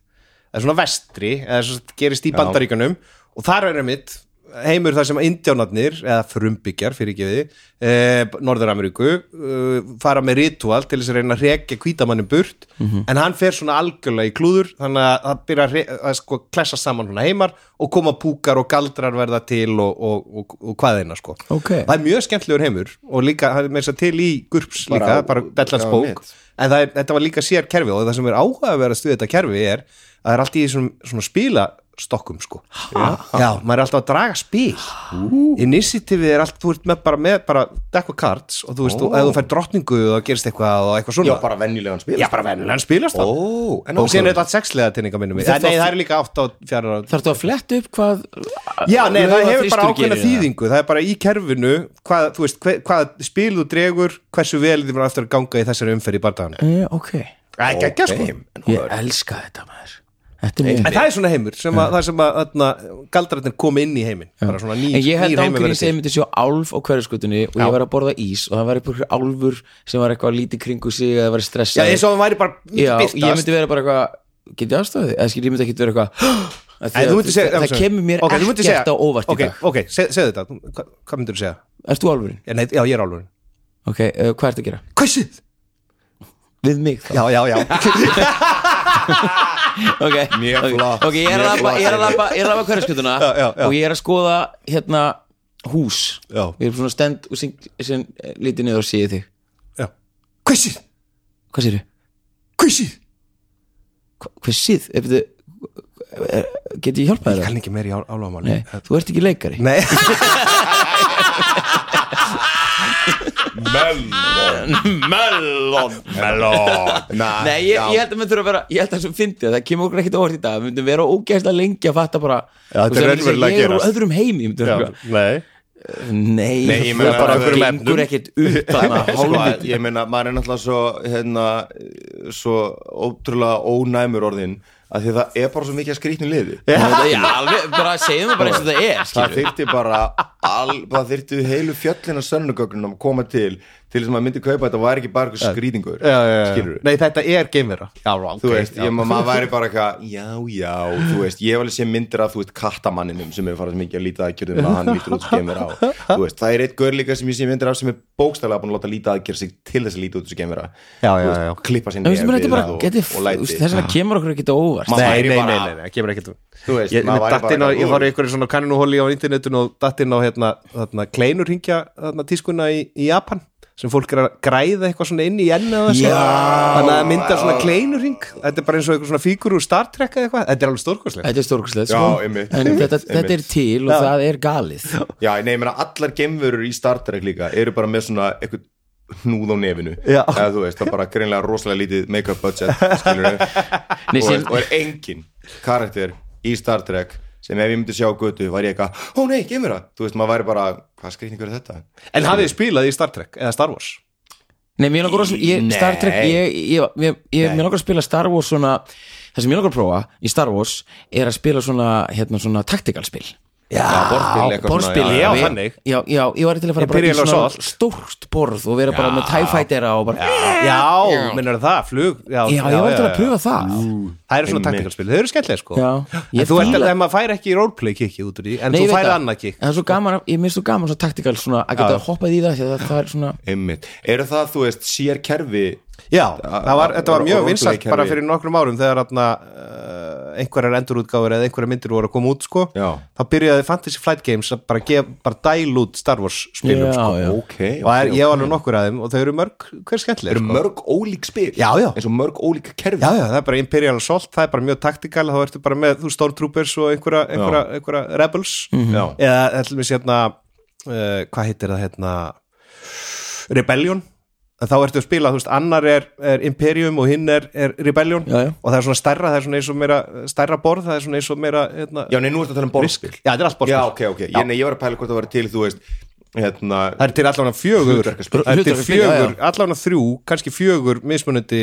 E: það er svona vestri eða svo gerist í bandaríkanum og þar er einmitt heimur þar sem indjánarnir eða frumbyggjar fyrir ekki við eh, Norður-Ameríku eh, fara með ritual til þess að reyna að rekja hvítamannin burt en hann fer svona algjörlega í klúður þannig að það byrja að, hre- að sko klessa saman svona heimar og koma púkar og galdrar verða til og, og, og, og hvaðina sko
D: Ok.
E: það er mjög skemmtlegur heimur og líka, það er með þess að til í GURPS
G: Bara-
E: líka, bara Bellans
G: já,
E: bók
G: mitt.
E: en það er, þetta var líka sér kerfi og það sem er áhugaverðast við þetta kerfi er að það er alltaf í svona, svona spilastokkum sko. já, maður er alltaf að draga spil initiativið er allt, þú ert með bara, með, bara deck of cards og þú veist, oh. ef þú fær drottningu og það gerist eitthvað og eitthvað svona
G: Já, bara venjulegan sko. spil
E: Já, bara venjulegan spilastock
G: Ó, en
E: og síðan
G: áhugaverð.
E: er þetta sexlega tinninga minnum við
D: Þetta-
E: nei, það er líka 8 og 4
D: Þarftu að fletta upp hvað
E: Já, nei,
D: lög
E: það
D: að
E: hefur
D: þrýstur
E: bara ákveðna
D: gerir það?
E: þýðingu Það er bara í kerfinu hvað, þú veist, hvað, hvað spil þú dregur hversu vel þið var eftir að ganga í þessari umferð í bardagan
D: Eh, Ok,
E: Ekki, ekki, sko
D: ég elska þetta maður Þetta er
E: En
D: mjög
E: það er svona heimur sem að, það sem að öðna, galdrarnir komi inn í heiminn bara svona nýr,
D: En ég held
E: nýr heimur
D: ángríns
E: verið
D: að ég myndi sjá álf á hverjaskutunni og ég var að borða ís og það var eitthvað álfur sem var eitthvað lítið kringu sig eða var
E: Já,
D: stressað
E: eins og hann væri bara myndi
D: Já, ég
E: byrtast
D: myndi vera bara eitthvað get ég aðstofið, eða skil ég myndi ekki vera eitthvað Af því
E: En
D: að
E: þú myndir segja-
D: það,
E: já,
D: það
E: sorry.
D: kemur mér
E: Ok, þú myndir
D: ekkert
E: segja-
D: á óvart
E: Ok,
D: í dag
E: ok, seg- segðu þetta, Þú- hva- hvað myndir þú segja?
D: Ert þú álfurinn?
E: Já, nei, Já, ég er álfurinn
D: Ok, uh, hvað ertu að gera?
E: Kvæsið!
D: Við mig þá
E: Já, já, já
D: Ok,
G: Mjög
D: ok.
G: flott,
D: Ok, ég er að labba-
G: mjög flott.
D: ég er að labba- ég er að labba hverjaskutuna
E: Já, já, já.
D: og ég er að skoða hérna hús
E: Já.
D: Ég er svona stend og syng- sem eh, lítið niður og séð þig
E: Kvæsið!
D: Hvað sérðu?
E: Kvæsið!
D: Hva- Hvað séð? Ef þið- er- Get ég hjálpað
E: Ég
D: þér?
E: kann ekki meir í álfamáli
D: Nei, þú ert ekki leikari
E: Nei,
D: Mellon
G: Nei,
D: Nei, ég, ég held að maður þurfa að vera Ég held að það sem fyndi að það kemur okkur ekkert óvart í dag Við myndum vera ógæslega lengi að fatta bara
E: Já, þetta
D: Þú veist,
E: er
D: að myndi segja,
E: raunverulega að
D: Ég er úr
E: gerast.
D: öðrum heimi myndum vera eitthvað,
E: nei
D: Nei,
G: Nei, ég
D: það
G: meina bara
D: bara
G: einhverjum
D: gengur ekkert upp Þannig að
G: sko,
D: hálfið
G: ég meina, maður er náttúrulega svo hérna, svo ótrúlega ónæmur orðin að því það er bara svo mikið að skrýtnu liði
D: Já, alveg, bara segjum það bara eins og það er
G: það
D: skilur.
G: þyrfti bara al, það þyrfti heilu fjöllina sönnugögnum að koma til til þess að maður myndi kaupa þetta væri ekki bara eitthvað skrýtingur
E: Já, já, já.
G: skilur
E: Nei, þetta er geimvera Já, ok
G: þú veist,
E: já.
G: ég, ma- maður væri bara eitthvað já, já, þú veist, ég hef alveg sé myndir af þú veist, kattamanninum sem er farið mikið að líta aðgjörðum að hann lítur út sem gemur á þú veist, það er eitt gaur líka sem ég sé myndir af sem er bókstælega búin að láta líta aðgjörð sig til þess að líta út sem gemur á
E: Já, já, já.
G: klippa sér
D: En veistu, mér þetta er bara
G: og,
D: geti-
G: og læti
D: Þess vegna kemur okkur ekkert á óvart
G: Maður
E: Nei,
G: væri
E: nei,
G: bara-
E: nei, nei, nei, kemur ekkert um-
G: Þú veist,
E: Ég,
G: maður væri bara
E: datt inn á, ég
G: eitthvað, "Ú."
E: var í einhverju svona kannuhóli á internetinu og datt inn á hérna, hérna kleinur hringja hérna, tískuna í, í Japan sem fólk er að græða eitthvað svona inn í enni þannig að það myndar svona kleinur hring þetta er bara eins og eitthvað svona fígur úr Star Trek eða eitthvað, þetta er alveg stórkoslega
D: Þetta er stórkurslega
G: Já,
D: sko.
G: einmitt,
D: En
G: einmitt,
D: þetta, þetta er
G: einmitt.
D: til og það er galið
G: já, nei, ég meina, allar gemurur í Star Trek líka eru bara með svona eitthvað hnúð á nefinu
E: Já.
G: eða þú veist, það er bara greinlega rosalega lítið make-up budget, skilur
D: Nei,
G: og, er,
D: síðan-
G: og er engin karakter í Star Trek sem ef ég myndi sjá á götu væri ég eitthvað, ó nei, gemur það þú veist, maður væri bara, hvað skrýningur er þetta
E: En hafið þið spilað í Star Trek eða Star Wars?
D: Nei, mér langar að ég, Star Trek, ég, ég, ég, ég mér langar að spila Star Wars svona það sem ég langar að prófa í Star Wars er að spila svona, hérna, svona taktikalspil
G: já, borðspil, eitthvað
D: borðspil,
G: svona,
E: já,
D: við-
E: þannig.
D: já, já, ég var til að fara
E: Ég
D: bara
E: byrja
D: í
E: alveg
D: svona
E: svo allt.
D: stórt borð og vera bara með TIE Fightera og bara já,
E: Já, minnur það, flug Já,
D: ég var til að pröfa það
E: Það eru svona taktikalspil, þau eru skemmtilega sko
D: Já. Ég
E: En þú ert
D: fíla-
E: að, ef maður fær ekki roleplay kikki út úr því en
D: Nei, ég
E: þú
D: veit
E: færið
D: það.
E: annað kikk
D: En það er svo gaman, ég minnst svo gaman svo taktikal svona að geta hoppað í það því að það, það er svona
G: einmitt, eru það, þú veist, sér kerfi
E: Já,
G: A-
E: það var,
G: a-
E: þetta var
G: ro-
E: mjög
G: roleplay
E: vinsalt
G: kerfi.
E: bara fyrir nokkrum árum þegar atna, uh, einhverjar endurútgáfur eða einhverjar myndir voru að koma út sko.
G: Já.
E: þá byrjaði Fantasy Flight Games að bara, gef, bara dæl út Star Wars
D: Já,
E: spilum sko.
D: já.
G: ok,
E: og er,
G: ok,
E: ég
G: ok.
E: var alveg nokkur að þeim og þau eru mörg, hver skemmtileg
G: eru
E: sko.
G: mörg ólík spil
E: Já, já.
G: eins og mörg ólík kerfi
E: já, já, það er bara Imperial Assault, það er bara mjög taktikal þá ertu bara með þú Stormtroopers og einhverja, einhverja, einhverja Rebels
G: Já.
E: eða ætlum við sérna uh, hvað heitir það hérna Rebellion En þá ertu að spila, þú veist, annar er, er Imperium og hinn er, er Rebellion
D: Já, já.
E: og það er svona stærra, það er svona eins og meira stærra borð, það er svona eins og meira hérna,
G: já, nei, nú ertu að tala um borðspil
E: já, þetta er allt borð
G: já, ok, ok, ég, nei, ég var að pæla hvort það var til, þú veist hérna,
E: það er til allan að fjögur
G: Hlutverkaspil.
E: það er til
D: Hlutverkaspil, já, já.
E: fjögur, allan að þrjú kannski fjögur mismunandi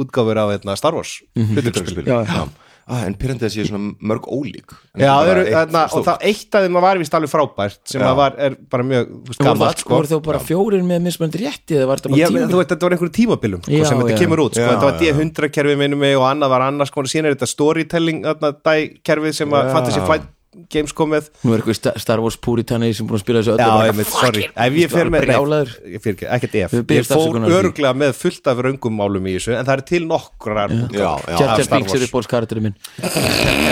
E: útgáfur af hérna, Star Wars
G: Mhm. hlutverkarspil
D: Já, já.
G: ah, en pyrrandi að séu svona mörg ólík En
E: Já,
G: þetta
E: það
G: er
E: eru,
G: bara eitt
E: þarna, og
G: stórt.
E: það eitt af þeim að var vist alveg frábært sem
G: Já.
E: að var, er bara mjög þú veist,
D: voru,
E: gammalt
D: það,
E: sko
D: voru þau bara fjórir með mismunandi rétti eða var þetta bara
E: Ég,
D: tíma
E: þú veit, þetta var einhverjum tímabilum sko,
D: Já,
E: sem þetta
D: já.
E: kemur út, sko,
G: Já,
E: þetta var
G: já, já.
E: D100 kerfið minnum mig og annað var annars, sko, síðan er þetta storytelling þarna, dæ, kerfið sem að Fantasy Flight games komið
D: Nú er eitthvað sta- Star Wars púritanni sem búin að spila þessu öllu
E: Já,
D: bara,
E: ég veit, sorry Ef ég fer með, nei, ég fer ekki, ekkert ef
D: Við
E: Ég
D: biðjumst
E: fór
D: afsökunar á því.
E: örglega með fullt af raungum málum í þessu En það er til nokkrar
G: Já,
E: útgáfur
G: já,
D: Jar
E: af
D: Jar
E: Star
D: Binks er
E: Wars
D: uppbóðskarturinn minn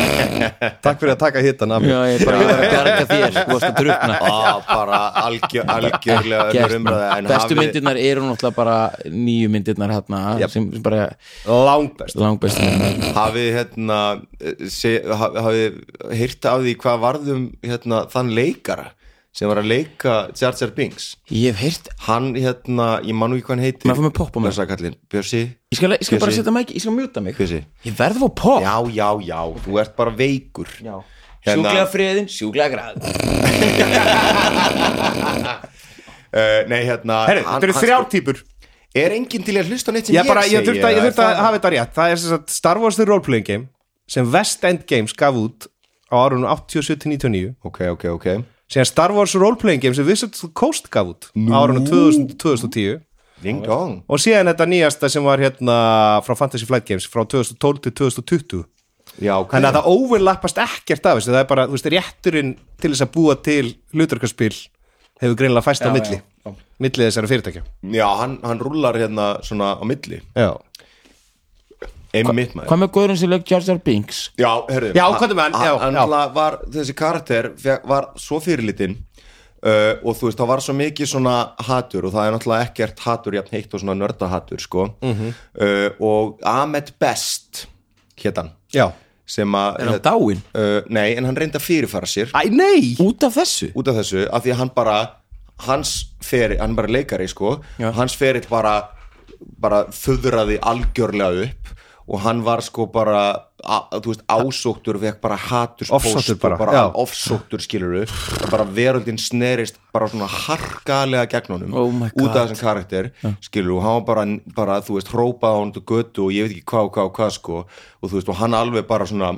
E: Takk fyrir að taka hittan af
D: Já,
E: mér
D: ég er bara ég var að bjarga þér sko, Þú varst að drukna
G: Á, bara algjör, algjörlega önnur
D: Gert,
G: umræða, en
D: Bestu
G: hafið-
D: myndirnar eru náttúrulega bara nýju myndirnar hérna sem, sem bara
E: Langbest
D: langbestu myndirnar
G: hafið hérna se, hafið, hafið heyrt af því hvað varðum hérna, þann leikara sem var að leika Jar Jar Binks
D: Ég hef heyrt
G: hann hérna, ég man nú ekki hvað hann heitir
D: Maður fór með popp á mig.
G: Blessaður kallinn. Bjössi,
D: Ég skal, ég skal bara
G: Bjössi.
D: setja mig, ég skal mjúta mig
G: Bjössi
D: Ég verð að fá pop
G: já, já, já, þú ert bara veikur
D: Já.
G: Hérna-
D: Sjúklega friðin, sjúklega græð
G: uh, nei, hérna
E: Herri, þetta eru þrjár típur
G: er enginn til að hlusta á neitt sem
E: Ég
G: ég,
E: bara, ég
G: segi
E: þurfti að, ég
G: eða
E: þurfti
G: er
E: að
G: það-
E: hafa þetta rétt Það er sem sagt Star Wars The Role Playing Game sem West End Games gaf út á árunum 87-99
G: ok, ok, ok
E: síðan Star Wars Role Playing Game sem Wizards of the Coast gaf út á árunum 2000, 2010
G: ding dong
E: og síðan þetta nýjasta sem var hérna frá Fantasy Flight Games frá 2012 til 2020
G: já, ok
E: þannig að það overlappast ekkert af þessu það er bara, þú veist, rétturinn til þess að búa til hlutarkaspil hefur greinlega fæst á milli milli þessara fyrirtækja
G: já, hann, hann rúlar hérna svona á milli
E: já,
G: einmitt maður
D: Hvað með góðurinn sem leik Jar Jar Binks?
G: Já, herðu
E: Já, hvað er með hann? Já,
G: Hann
E: já.
G: náttúrulega var, þessi karakter fekk- var svo fyrirlitinn uh, og þú veist, það var svo mikið svona hatur og það er náttúrulega ekkert hatur jafn heitt og svona nördahatur, sko
E: Mhm.
G: uh, og Ahmed Best hét hann
E: já
G: sem að
D: Er hann dáinn?
G: Uh, nei, en hann reyndi að fyrirfara sér
E: Æ, nei!
D: Út af þessu?
G: út af þessu af því að hann bara hans ferill, hann er bara leikari sko
D: Já.
G: hans ferill bara bara þöðraði algjörlega upp og hann var sko bara a- þú veist, ásóttur við bara haturspóst
E: Ofsóttur
G: og
E: bara,
G: bara
E: já.
G: ofsóttur skilur við bara veröldin snerist bara svona harkalega gegn honum
D: Oh my
G: út af
D: God.
G: þessum karakter skilur við, og hann var bara, bara þú veist, hrópað á hann til götu og ég veit ekki hvað og hvað og hvað sko og þú veist, og hann alveg bara svona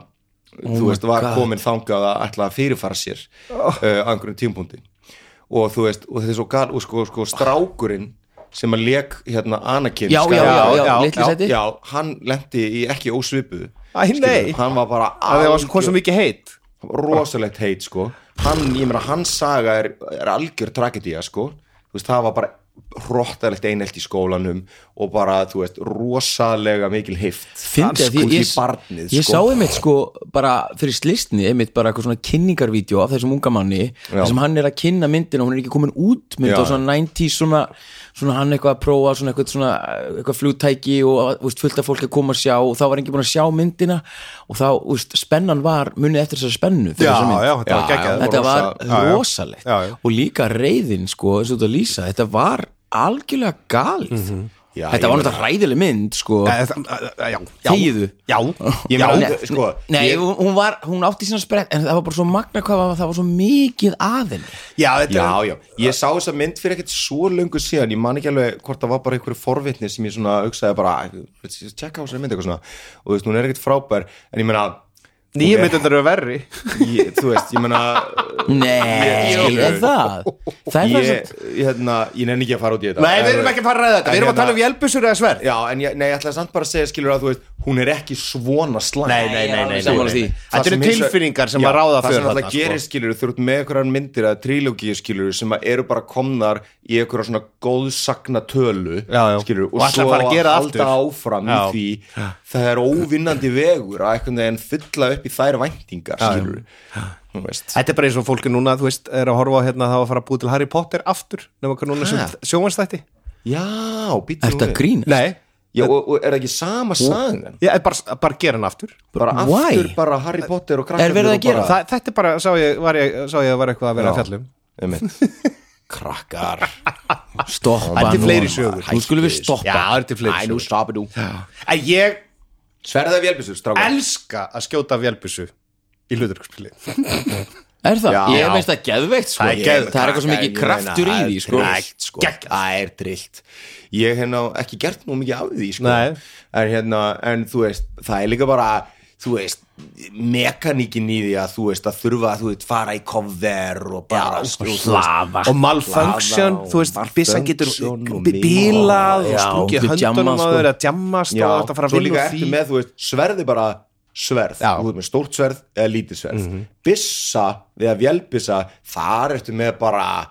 E: Oh
G: þú veist, var komin þangað að ætla að fyrirfara sér oh. uh, angrunum tímpúndi og þú veist, og þetta er svo gal og sko, sko strákurinn sem að leik hérna Anakin
D: Já, já, já,
G: Skywalker-
D: já, litli sæti.
G: já, hann lendi í ekki ósvipuðu
E: Æ,
G: skilurðu.
E: nei.
G: hann var bara
E: að það var svo
G: algjör-
E: hvað sem ekki heit
G: rosalegt heit sko hann, ég meina, hans saga er, er algjör tragedía sko, þú veist, það var bara hróttalegt einelt í skólanum og bara, þú veist, rosalega mikil heift
D: Fyndi að ég, ég,
G: barnið,
D: ég
G: sko.
D: sá einmitt sko bara fyrir slistni einmitt bara eitthvað svona kynningarvídeó af þessum unga manni þar sem hann er að kynna myndina og hún er ekki komin út mynd
G: Já.
D: á svona 90s svona, svona hann eitthvað að prófa svona eitthvað, svona, eitthvað flugtæki og þú veist, fullt af fólk að koma að sjá og þá var enginn búin að sjá myndina og þá þú veist, spennan var munið eftir þessari spennu fyrir
E: Já,
D: þessa mynd.
E: já, þetta var
D: já,
E: geggjað.
D: þetta var
E: Rosa- já, já.
D: rosalegt
E: Já, já.
D: og líka reyðin sko eins og þetta lýsa þetta var algjörlega galið
E: Mhm.
G: Já,
D: þetta
G: ég
D: var
G: meina-
D: náttúrulega ræðileg mynd sko
E: Æ, það- Já, já.
D: Þegiðu.
E: Já,
G: Ég
E: já,
G: meina,
D: nei,
G: hún- sko,
D: nei
G: ég-
D: hún, hún var, hún átti sína sprett en það var bara svo magna hvað var, það var svo mikið aðin
E: já, þetta er
G: Já, já, ég sá þessa mynd fyrir ekkert svo löngu síðan, ég man ekki alveg hvort það var bara einhverju forvitni sem ég svona hugsaði bara, tjekka á þessari mynd eitthvað svona og þú veist, hún er ekkert frábær, en ég meina
E: Nýja
G: hún er-
E: myndundar eru verri
G: ég, þú veist, ég meina
D: nei,
G: Ég- ég-
D: er það það er það sem
G: ég, ég, hérna, ég nenni ekki að fara út í þetta
E: Nei, við erum ekki að fara að ræða þetta,
G: En
E: við erum að
G: hérna-
E: tala um jælbusur eða sverð
G: Já, en ég, nei, ég ætlaði samt bara að segja skilur að þú veist, hún er ekki svona slæm
E: Nei, nei, nei, nei, nei,
D: Sammála því.
E: nei. Þetta eru tilfinningar sem að ráða
G: það
E: fyrir
G: sem alltaf
E: þarna, sko.
G: gerir skilur, þú ert með einhverjar myndir að trílógíu skilur sem að eru bara komnar í einhverjar svona góðsakna tölu
E: Já, já.
G: skilur, og,
E: Og ætla að
G: svo
E: fara að gera
G: halda
E: aftur.
G: áfram
E: Já.
G: í því það er óvinnandi vegur að einhvern veginn fylla upp í þær væntingar skilur, þú veist
E: Þetta er bara eins og fólki núna, þú veist, er að horfa á hérna að það var að fara að búi til Harry Potter aftur nema hvað núna sem
G: Ha?
E: sjómanstætti
G: Já, býtum
D: er þetta grínast
E: Nei,
G: Já, og, og er það ekki sama sagan?
E: ég er bara, bara gera hann aftur
G: Bara
D: Why?
G: aftur bara Harry Potter og krakkarnir
D: Er verið að
G: og
D: gera
G: bara-
E: Þa, Þetta er bara, sá ég, var ég, sá ég að var eitthvað að vera að fjallum
G: Einmitt. krakkar
D: stoppa
E: Þetta er
D: nú.
E: fleiri sögur.
D: nú skulum við
E: Já,
D: stoppa
E: það er til fleiri sögur.
G: stoppa nú
E: En ég
G: Sverða vélbissur, strákar
E: elska að skjóta vélbussu í hluturkspili
D: er það,
G: Já.
D: ég veist það geðveikt sko.
E: Það er geðveikt.
D: það er eitthvað svo mikið kraftur í því sko.
G: sko. Það er drillt Ég hef hérna ekki gert nú mikið af því sko.
E: Nei.
G: en, hérna, en þú veist, það er líka bara þú veist, mekaníkin í því að þú veist, að þurfa að þú veist fara í cover og bara Já, og slafa
E: og malfunction,
G: Hlaða og
E: þú veist, byssan getur
G: malfunction og
E: bí- bílað og
D: Já,
E: sprungið
D: þú
E: höndunum
D: jammast
E: að
D: og-
E: vera að jammast og þetta fara að
G: svo
E: vinna
G: líka
E: úr
G: ertu
E: því
G: með, þú veist, sverði bara sverð
E: Já.
G: þú ert með stórt sverð eða lítið sverð byssa eða vélbyssa þar ertu með bara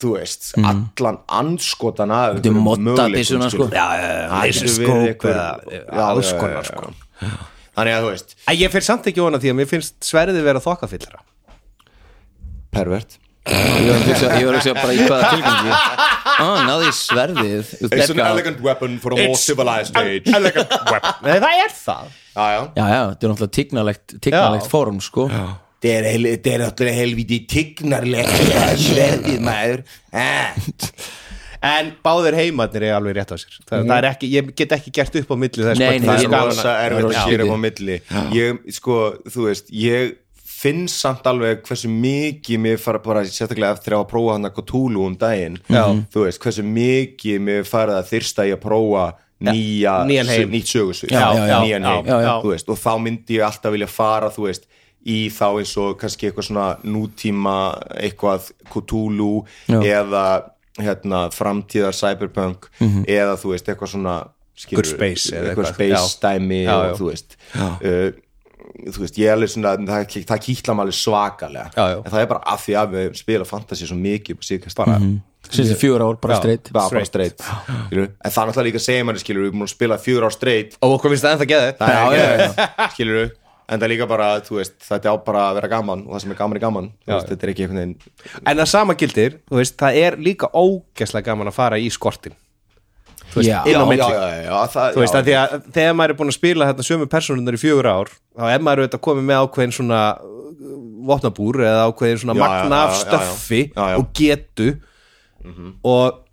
G: þú veist, allan anskotan af
D: Þetta er
G: einhverjum
D: modda
G: möguleikum,
D: byssuna sko
G: skilur.
D: Já, já, já,
G: Það getur verið
D: laserskóp
G: einhver-
D: eða-
G: Já,
D: alls
G: já, já,
D: konar
G: já,
D: sko
G: já. þannig að þú veist,
E: Æ, ég fer samt ekki vona því að mér finnst sverðið vera þokkafillra
G: pervert
D: Ég var að hugsa- ég var að segja bara í hvaða tilgangi ah, náði í sverðið Þú
G: It's an
D: dekka-
G: elegant weapon for a more civilized age elegant weapon
E: Nei, það er það
G: já, já.
D: Já, já, þetta er náttúrulega tignalegt, tignalegt form sko
H: Þetta er heil- þetta er náttúrulega helviti tignarlegt sverðið maður ah.
G: Eh.
E: En báðir heimarnir er alveg rétt á sér Það, það er ekki, ég get ekki gert upp á milli þess
D: Nei, nei,
E: hvort
G: það
D: ég-
G: er rosa
D: það er
G: erfitt
D: rosa
G: að gera
D: skrítið.
G: upp á milli ég, sko, þú veist, ég finn samt alveg hversu mikið mér fara bara, sérstaklega eftir að prófa hann að Cthulhu um daginn, Já. þú veist, hversu mikið mér farið að þyrsta í að prófa nýja,
E: nýjan
G: sö-
E: heim.
G: nýtt sögursvið
D: Já, já, já,
G: nýjan
E: já,
G: heim,
E: já, já.
G: þú veist, og þá myndi ég alltaf vilja fara, þú veist, í þá eins og kannski eitthvað svona nútíma eitthvað Cthulhu eða hérna framtíðar cyberpunk
D: Mhm.
G: eða þú veist eitthvað svona skilur,
E: Good space eða
G: eitthvað
E: eitthvað, já.
G: space dæmi
E: Já, já.
G: og þú veist uh, þú veist, ég er alveg svona það, það kýtla maður alveg svakalega
E: Já, já.
G: en það er bara af því að við spila fantasy svo mikið og síðkast bara
D: Sýnst í fjögur ár, bara streitt
G: bara, bara straight skilur. en það er náttúrulega líka að segja manni skilur við erum búin að spila fjögur á straight
E: Og okkur finnst það ennþá geðið
G: það er ekki skilur við en það er líka bara, þú veist, þetta á bara að vera gaman og það sem er gaman er gaman, þú veist, þetta er ekki einhvern veginn
E: En það sama gildir, þú veist, það er líka ógæslega gaman að fara í skortin
D: Já,
E: inn á milli.
G: já, já, já, það,
E: Þú veist,
G: já,
E: að því að þegar maður er búin að spila hérna sömu personunar í fjögur ár þá er maður auðvitað komið með ákveðin svona uh, vopnabúr eða ákveðin svona
G: Já,
E: magna
G: já,
E: af
G: já, já, já.
E: stöffi
G: Já, Mhm. já.
E: og getu og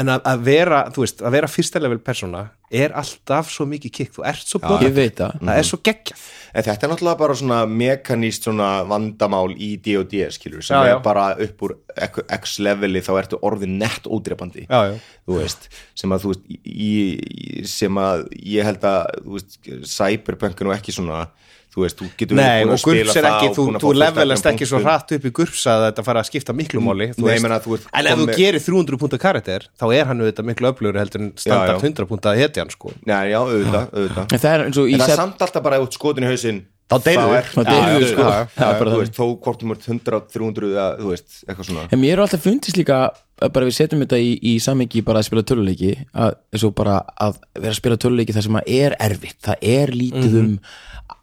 E: en að, að vera, þú veist, að vera fyrsta level persona er alltaf svo mikið kikk, þú ert svo blóð
D: ég veit það
E: það er
G: Mhm.
E: svo geggjað
G: En þetta er náttúrulega bara svona mekaníst svona vandamál í D&D skilur, sem
E: Já, já.
G: er bara upp úr X leveli þá ertu orðin nett ódrepandi
E: Já, já.
G: þú veist, sem að þú veist í, sem að ég held að þú veist, cyberpunk er nú ekki svona þú veist, þú getur
E: Nei,
G: búin
E: og
G: að spila
E: gurps er
G: það
E: ekki,
G: og
E: þú,
G: búin
E: þú
G: að fá fullt af
E: levelast
G: þeim
E: ekki svo
G: punktum. Mm.
E: hratt upp í gurps að þetta fara að skipta miklu máli þú
G: Nei,
E: veist.
G: ég meina, þú ert
E: en ef þú
G: komið-
E: gerir 300 púnta karakter þá er hann auðvitað miklu öflugur heldur en standart
G: Já, já.
E: 100 púnta að hetja hann sko
G: Nei, já, auðvitað, auðvitað.
D: En það er eins og í
G: En það
D: sef-
G: er samt alltaf bara út skotin í hausinn
E: Þá deyrðu.
G: er-
D: Þá deyrðu,
G: Já, já,
D: sko.
G: já,
D: Það
G: já,
D: er bara
G: Þú
D: þannig.
G: veist, þó hvort um 100, 300 eða, þú veist, eitthvað svona
D: En mér er alltaf fundist líka að bara við setjum þetta í, í samengi bara að spila töluleiki að, eins og bara að vera að spila töluleiki þar sem að er erfitt, það er
E: Mhm.
D: lítið um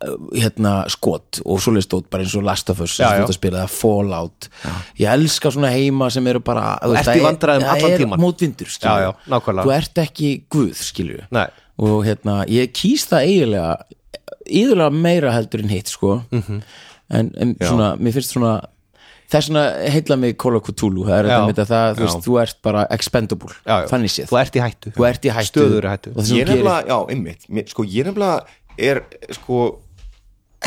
D: uh, hérna skot og svoleiðist stótt bara eins og Last of Us sem þú ert að spila, eða Fallout ég elska svona heima sem eru bara þú veist,
E: ert
D: það
E: í vandræðum
D: er- það
E: allan
D: er
E: tímann.
D: mótvindur, skilurðu.
E: Já, já, nákvæmlega.
D: þú ert ekki guð, skilju
E: Nei.
D: og hérna, ég kýst það eiginlega yðurlega meira heldur en hitt sko
E: Mhm.
D: en, en svona, mér finnst svona þess vegna heilla mig Call of Cthulhu það er
E: Já.
D: þetta með að það, þú veist, þú ert bara expendable,
E: Já, já.
D: þannig séð
E: Þú ert í hættu.
D: þú ert í hættu,
E: Stöðugri hættu.
D: Og það sem
G: ég
D: þú gerir-
G: nefnilega, já, einmitt mér, sko, ég nefnilega er sko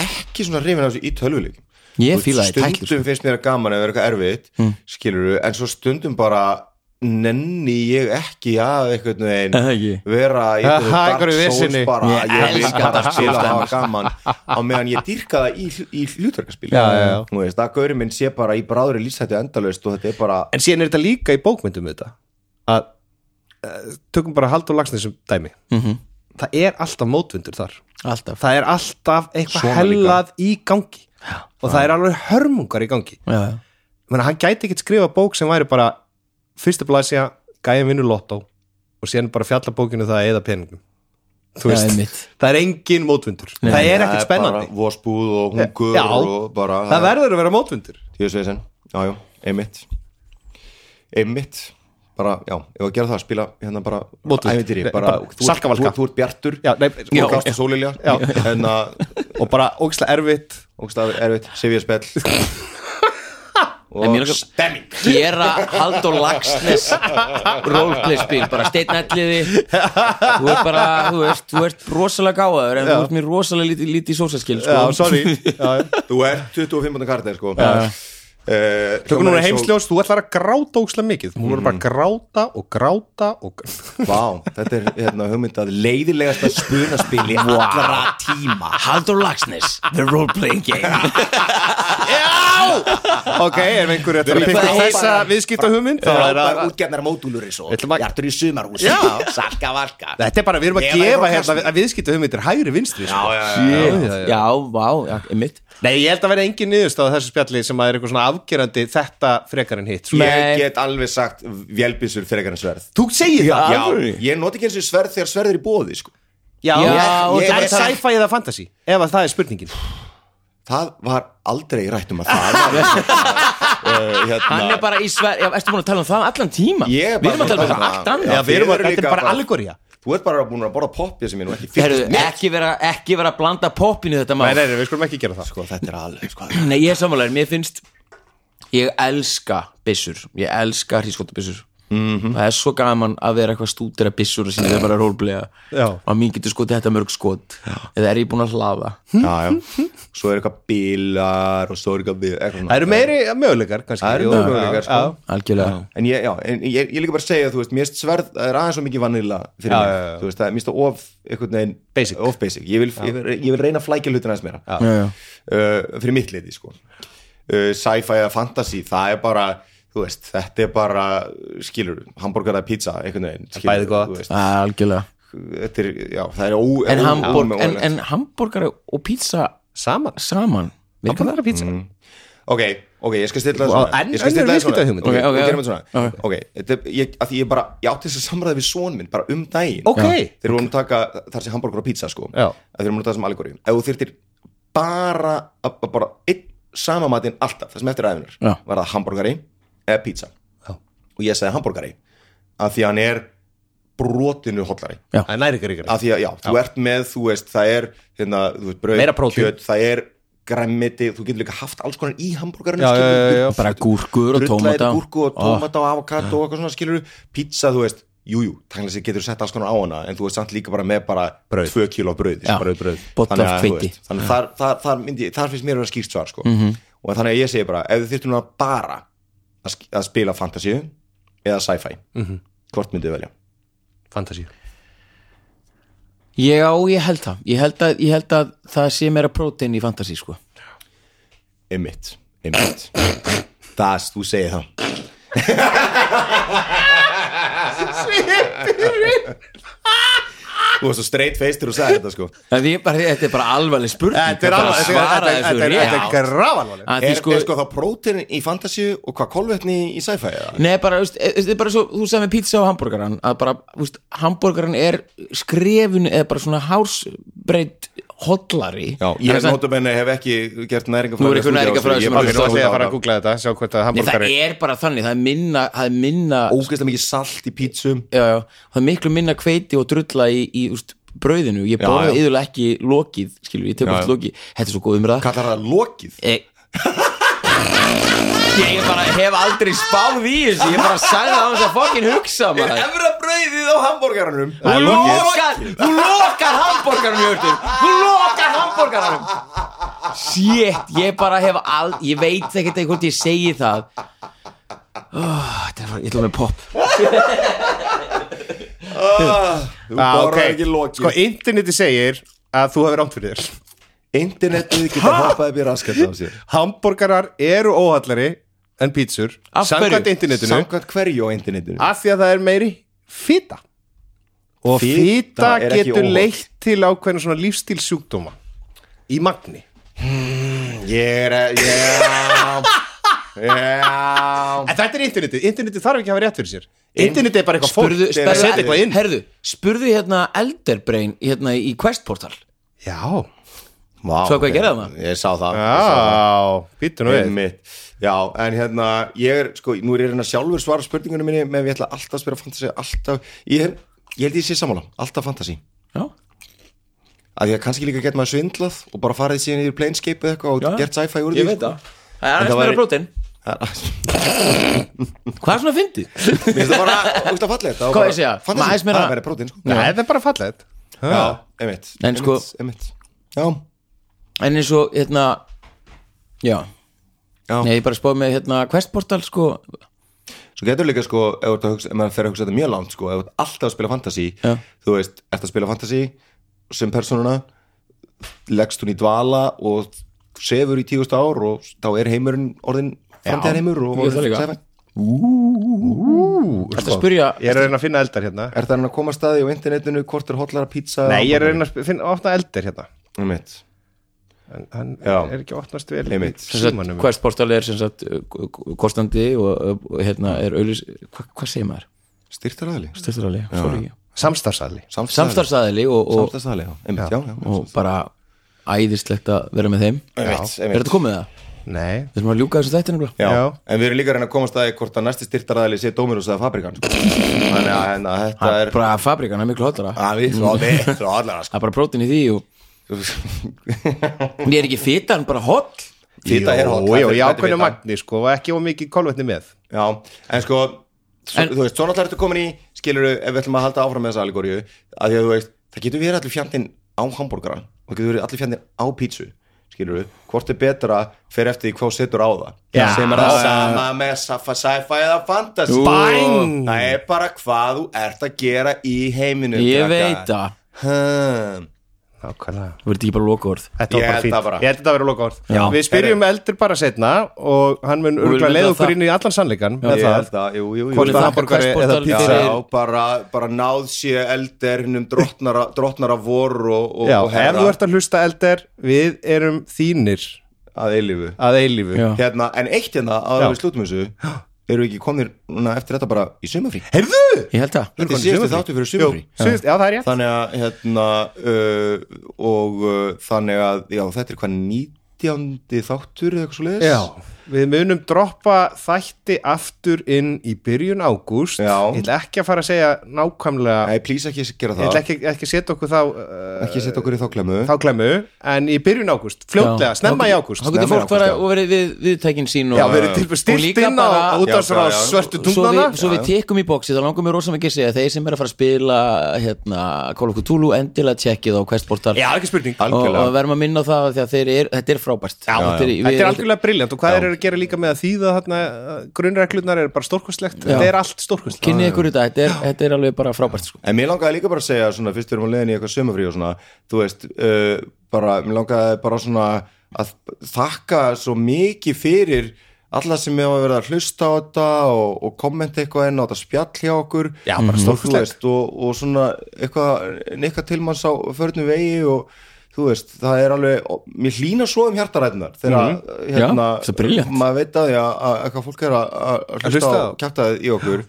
G: ekki svona hrifin af þessu í tölvuleikum
D: Ég
G: Þú veist,
D: fíla það í
G: stundum
D: tætlur, sko.
G: finnst mér það gaman að vera eitthvað erfitt mm. en svo stundum bara nenni ég ekki að einhvern
D: Er það ekki?
G: veginn vera í einhverju
E: Aha,
G: Dark
E: einhverju
G: Souls
E: vesinni.
G: bara,
D: Ég
G: ég vil
D: elska
G: bara
D: Dark
G: spila
D: Souls
G: að hafa
D: dæmi.
G: gaman á meðan ég dýrka það í, hl- í hlutverkaspil
E: Já, já, já.
G: Nú veist, að gaurið minn sé bara í bráðri lýsættu endalaust og þetta er bara
E: en síðan er þetta líka í bókmyndum þetta að uh, tökum bara Haldur Lagsnes sem dæmi -hmm. það er alltaf mótvindur þar
D: Mhm. alltaf
E: það er alltaf eitthvað
G: Svona
E: hellað í gangi og það er alveg hörmungar í gangi
D: já, já.
E: menna, hann gæti ekkert skrifa bók sem væri bara fyrsta blæsja, gæja vinnu lottó og síðan bara fjalla bókinu það eða peningum þú
D: Já,
E: veist,
D: einmitt.
E: það er engin mótvindur það er ekkert spennandi Eh,
G: bara vospúð og hungur
E: Já.
G: og bara
E: það verður að vera mótvindur
G: Tíðisvesen, jájú, einmitt Einmitt bara, já, ef að gera það, spila hérna bara
E: Mótvöld.
G: ævintýri,
E: Nei,
G: bara,
E: bara
G: þú, ert- þú,
E: Salkavalka.
G: þú ert bjartur
E: Já, nei,
G: þú
E: já,
G: ert gást og sólilja en að,
E: og bara ógislega erfitt
G: og stafi, erfitt, sefja spell
D: En mér langar- gera Haldur Laxness roleplay spil, bara steinætliði þú ert bara, þú ert, þú ert rosalega gáður en þú ert mér rosalega lítið líti sósaskil sko.
E: já, sorry já, já.
G: þú ert 25. kartið, sko Eh, uh,
E: Tökum núna heimsljós, þú ætlar að gráta ógislega mikið Þú voru bara að gráta og gráta og gráta
G: Vá, þetta er hérna hugmynd að leiðilegasta spunaspili allra tíma
D: Haldur Laxness, the role playing game
G: Já,
E: Ok, ef einhver er að
G: Við
E: pikka
G: bara-
E: þessa viðskipta hugmynd þá er
G: Frábær
E: það
G: útgefnar módúlur eins og
E: Við ætlum að-
G: Hjartur í sumarhús
E: Já.
G: Salka valka
E: Þetta er bara, við erum að
G: Eva er
E: gefa
G: frá
E: hérna
G: Kasmír.
E: að viðskipta hugmyndir hægri vinstri sko.
G: já,
D: Já, vá, já, einmitt
E: Nei, ég held að vera engin niðurst á þessu spjalli sem að er eitthvað svona afgerandi þetta frekar en hitt sko.
D: Nei.
G: Ég get alveg sagt vélbissur frekar en sverð
E: Þú segir það?
G: Já, ég noti ekki eins og sverð þegar sverð er í bóði sko.
E: Já,
D: Já,
E: ég-
D: og
E: ég-
D: það
E: er
D: er það-
E: sci-fi eða fantasy? Ef að það er spurningin
G: Það var aldrei rætt um að það uh,
D: Hann
G: hérna,
D: er bara í sver, já, ertu búin að tala um það allan tíma?
G: Ég er
D: Við
G: bara
D: erum að tala um
G: bara-
D: eitthvað allt annað
G: Já,
E: Já, við erum að,
G: þið eru
E: þetta er
G: líka
E: bara
G: bara-
E: allegoria
G: Þú ert bara búin að borða poppi sem ég nú ekki
D: Heyrðu,
G: fyrst með
D: ekki vera, ekki vera að blanda poppinu í þetta mál
E: Nei, nei, nei, við skulum ekki gera það
G: Sko, þetta er alveg sko.
D: Nei, ég er samanlega, mér finnst Ég elska byssur Ég elska hrískóttabyssur
G: Mhm.
D: Það er svo gaman að vera eitthvað stúdera byssur og síðan það er bara rólblega
E: Já.
D: og mér getur skotið þetta mörg skot eða er ég búin að hlaða
G: Já, já Svo eru eitthvað bílar og svo eru eitthvað við eitthvað svona.
E: Það eru meiri möguleikar kannski
G: Það eru
E: Jú, já,
G: möguleikar, sko.
D: algjörlega
G: En ég, já, en ég, ég er líka bara að segja, þú veist, mér finnst sverð, það er aðeins svo mikið vanilla fyrir
E: Já,
G: mig,
E: já, já.
G: þú veist, það er mér finnst það of, einhvern veginn,
E: Basic.
G: of basic. Ég vil, ég, vil, ég vil reyna að flækja hlutina aðeins meira,
D: Já, já.
G: Uh, fyrir mitt leiti, sko. Uh, sci-fi eða fantasy, það er bara, þú veist, þetta er bara, skilur, hamburger eða pizza, einhvern veginn, skilur.
E: Bæði gott.
G: þú Veist,
D: Ah, algjörlega
G: þetta er, já, það er ó...
D: en,
G: ó-
D: hambúrg,
G: ómögulegt.
D: en, en hambúrgari og pizza
E: Saman
D: saman virkar það?
E: Hamburgara pizza
G: Ok, ok, ég skal stilla
E: Og
G: það svona
E: enn
G: Ég skal stilla
E: önnur
G: það svona
E: viðskiptahugmynd.
G: Ok,
D: Ok, ok,
G: ok,
D: ok.
G: gerum þetta svona Ok, þetta er- ég- af því ég bara Ég átti þess að samræða við són minn Bara um daginn
E: Ok. Já.
G: Þeir vorum að taka þar sem hamburgur og pizza sko
E: Já.
G: Þeir vorum að taka sem allegóri Ef þú þyrtir bara að- að Bara einn sama matinn alltaf Það sem eftir aðeinar
D: Já.
G: Var það hamburgari eða pizza Já. Og ég sagði hamburgari Af því að hann er brotinu hollari
E: Það er næri ykkur ykkur
G: af því að já, þú ert með, þú veist, það er hérna, þú veist, brauð,
E: Meira prótín.
G: kjöt, það er græmmiti, þú getur líka haft alls konar í hambúrgarinu,
E: Já, já, já, já.
D: bara gúrkur og tómata Ah.
G: gúrku og tómata og avokado og eitthvað svona skilur pizza, þú veist, jújú, tæknilega sér getur sett alls konar á hana, en þú veist samt líka bara með bara
E: Brauð.
G: 2 kíló brauð,
D: Já.
G: brauð, brauð.
D: Bolla
G: þannig
D: af
G: að, þú
D: hveiti.
G: veist, þannig að þar, þar, þar, myndi, þar finnst mér að vera skýrt svar sko. mm -hmm. og þannig að ég segi bara, ef þú þyrftur núna bara að, sk- að spila fantasíu eða sci-fi, hvort myndið velja
E: Fantasí
D: já, ég held það ég held að, ég held að það sé meira prótein í fantasy sko.
G: Einmitt, einmitt Das, þú segir það Þú varst svo straight face til þú sagði þetta sko
D: En ég bara, þetta er bara alvarleg spurning
E: Þetta er
D: Bara
E: alveg
D: svara þessu rétt.
E: Þetta er grafalvarleg
D: Að því
G: Er,
D: sko,
G: er sko þá prótein í fantasíu og hvað kolvetni í sci-fi eða?
D: Nei, bara, veist, e- þetta er bara svo, þú sagði með pizza og hambúrgaran að bara, veist, hambúrgaran er skrefun eða bara svona hársbreytt hollari
G: Já,
D: Það
G: ég
D: er
G: notum henni hef ekki gert næringafræði
D: Nú er ykkur næringarfræði sem
G: sem
D: er alveg
E: Ég
G: er
E: er náttúrulega að fara að
G: alveg
E: googla þetta Sjá hvort að
D: Nei, það
E: hamburgari
D: er bara þannig, það er minna það er minna,
G: Ógeðslega mikið salt í pítsum
D: já, já, það er miklu minna kveiti og drulla í, í úst, brauðinu ég borða
G: já.
D: yfirlega ekki lokið skilur, ég tek
G: Já,
D: út
G: já.
D: lokið, þetta er svo góð umræða E-
G: Kallar það lokið?
D: Ég Ég er bara hef aldrei spáð í þessu Ég bara sagði það á þess að fokkin hugsa maður
G: Efra brauðið á hambúrgaranum
D: Þú lokar, þú lokar hambúrgaranum Hjörtur Þú lokar hambúrgaranum Shit, ég bara hef all Ég veit ekkert eitthvað hvort ég segi það oh, Þetta er bara, ég ætla með pop
G: Þú
E: Ah,
G: borðar
E: ok.
G: ekki lokið
E: Sko, interneti segir að þú hefur ánt fyrir þér
G: Internetið geta hoppað upp í raskat á sér
E: Hamburgarar eru óhallari en pítsur
D: Af hverju?
E: Samkvæmt internetinu Ah,
G: Samkvæmt hverju á internetinu
E: Af því að það er meiri fita Og
G: Fita
E: fita
G: er ekki
E: getur
G: óholl.
E: leitt til ákveðin svona lífstílsjúkdóma Í magni Hmm,
G: Ég er að, já Já
E: En þetta er internetið, internetið þarf ekki að hafa rétt fyrir sér Internetið er bara eitthvað fólk
D: Spurðu,
E: er að setja eitthvað inn
D: herðu, spurðu hérna Elderbrain hérna í Quest Portal
E: Já,
G: Vá,
D: Svo hvað
G: ok.
D: gerði það?
G: Ég sá það ég sá það.
E: já, býttu nú við
G: Einmitt. Já, en hérna Ég er, sko, nú er ég reyna sjálfur svara spurningunum minni Menn ég ætla alltaf að spyrja fantasi Alltaf, ég, ég held ég sé sammála Alltaf fantasi
D: Já,
G: Af því að kannski líka gett maður svindlað Og bara farið síðan yfir planescape eða eitthvað Og
D: Já.
G: gert sci-fi úr því
D: ég veit
G: sko.
D: það Það er
G: það
D: aðeins meira
G: væri-
D: brótin
G: það
D: Hvað er svona fyndið?
G: Mér finnst það bara úst að falla þetta
D: Hvað ég segja? Maður aðeins
G: Fantasi,
D: meira-
G: það verður prótin sko.
E: Nei, þetta er bara fallegt
G: Já, einmitt
D: En sko-
G: einmitt, einmitt. Já,
D: En eins og hérna Já,
G: já
D: Nei, ég bara spáði með hérna Quest Portal sko
G: Svo getur líka sko, ef þú ert að hugsa, ef maður fer að hugsa þetta mjög langt sko, ef þú ert alltaf að spila fantasy,
D: Já.
G: þú veist, ert að spila fantasy sem persónuna, leggst hún í dvala og sefur í tígust ár og þá er heimurinn orðin framtíðarheimur og
I: ég er það líka.
G: sci-fi.
D: Þetta spurja
E: Ég er að reyna að finna eldar hérna
G: Er það hann að koma staði á internetinu hvort er hotlara pizza
E: Nei, ég er að reyna að sp- finna að opna eldir hérna
G: Einmitt.
E: En hann
G: Já.
E: er ekki að opnast vel
G: Einmitt.
E: í símanum
D: Quest portal er sem sagt uh, k- kostandi og uh, hérna er auðlis hva, hvað segir maður?
G: Styrtaraðli
D: Styrtarali, sorry
E: Samstarfsaðli
D: Samstarfsaðili og, og,
G: Samstarfsaðli, já, einmitt, já, já
D: og bara æðislegt að vera með þeim
G: Einmitt,
D: Er þetta
G: einmitt
D: komið það?
E: Nei,
D: Við erum að ljúka þessu þetta nefnilega
G: Já.
E: Já.
G: en við erum líka að reyna að komast að því hvort að næsti styrtaraðli sé Dómirús eða Fabrikan sko. Þannig að hérna, þetta
D: Það
G: er
D: er bara fabrikan, það er miklu hotlara
G: að við svo við, svo sko. allara
D: Það er bara prótin í því og Ég er ekki fita, hann er bara hot
G: Fita er hot,
E: Jó,
G: það
E: jó,
G: er-
E: já,
G: þetta er
E: hvernig
G: fita.
E: magni, sko, og ekki of mikið kolvetni með
G: Já, en sko svo,
D: En-
G: Þú veist, svona allar ertu komin í Skiluru, ef við ætlum að halda áfram með þessa allegoríu að Því að þú veist, það getur verið allir fjandinn á hambúrgaran Og getur verið allir fjandinn á pítsu Skiluru, hvort er betra Fer eftir því hvað þú setur á það Já, Sem er það sama með sci-fi sci-fi eða fantasy
E: Bang!
G: Það er bara hvað þú ert að gera í heiminum
D: Ég
G: krakkar.
D: veit það
G: Hmm.
E: Nákvæmlega
D: Þú verður ekki bara loka orð
E: Þetta var
G: Ég
E: bara
G: held
E: fínt,
G: það bara.
E: ég held þetta að vera loka orð
D: Já.
E: Við spyrjum eldur bara setna og hann mun örgulega
D: viljum
E: leiða
D: vita
E: okkur
D: það.
E: inn í allan sannleikan með
G: Ég
E: það,
G: held að, jú, jú, jú
E: hvort
D: Viljum
E: það
D: þakka
E: hamburgari
D: Questportal
E: eða
D: fyrir-
E: pizza
G: Já, bara, bara náð sé eldernum drottnara, drottnara vor og, og,
E: Já,
G: og
E: ef þú ert að hlusta eldur við erum þínir
G: að eilifu
E: að eilífu
D: Já.
G: hérna, En eitt hérna að
E: Já.
G: við slútum þessu eru ekki komnir núna, eftir þetta bara í sumafrí
D: Ég held það
G: Þetta er síðustu þáttu fyrir
E: Jú,
G: sumafrí
E: síðust, já, það er rétt
G: Þannig að hérna uh, og uh, þannig að já, þetta er hvað nítjándi þáttur eða eitthvað svo leiðis
E: Já, við munum droppa þætti aftur inn í byrjun ágúst
G: Já.
E: Ég ætla ekki að fara að segja nákvæmlega
G: Nei, please ekki gera
E: Ég
G: það
E: ætla ekki, ekki að setja okkur þá uh,
G: ekki setja okkur í þáklemu
E: þá klemmu, en í byrjun ágúst fljótlega, snemma í ágúst
D: Þá getur
G: Snemma í
D: fólk fara
G: ágúst, já.
D: og verið við, viðtækin sín og
E: Já, við erum tilbúin
D: Og
E: stilt
D: líka
E: inn á
D: bara-
E: útdagsra
G: Já, já, já.
E: svörtu
D: Svo
E: tungnana
D: við, svo við tekum í bóksi, þá langar mér rosa mikið að segja að þeir sem er að fara að spila hérna, Call of Cthulhu, endilega tjekkið á Questportal
E: Já, ekki spurning
D: og,
G: algjörlega
D: og verðum að minna á það því að þeir er, þetta er frábært já, þetta er,
E: Þetta er algjörlega briljant og hvað þeir eru að gera líka með að þýða þarna, grunnreglunar er bara stórkustlegt þetta er allt stórkustlegt
D: kynni ykkur í þetta, þetta er, þetta er alveg bara frábært sko.
G: En mér langaði líka bara að segja svona, fyrst við erum að leiðin í eitthvað sömafrí og svona, þú veist, uh, bara, mér langaði bara svona að þakka svo mikið fyrir alla sem hefur verið að hlusta á þetta og, og kommenta eitthvað inn á þetta spjall hjá okkur Já, bara stórkustlega og, og svona eitthvað nekka tilmanns á förnum vegi og þú veist, það er alveg og mér hlýna svo um hjartarætnar þegar hérna,
D: Mhm. Já, það er brilliant.
G: maður veit að því að að- að hvað fólk er að- að að hlusta
E: hlusta
G: á kjartaðið í okkur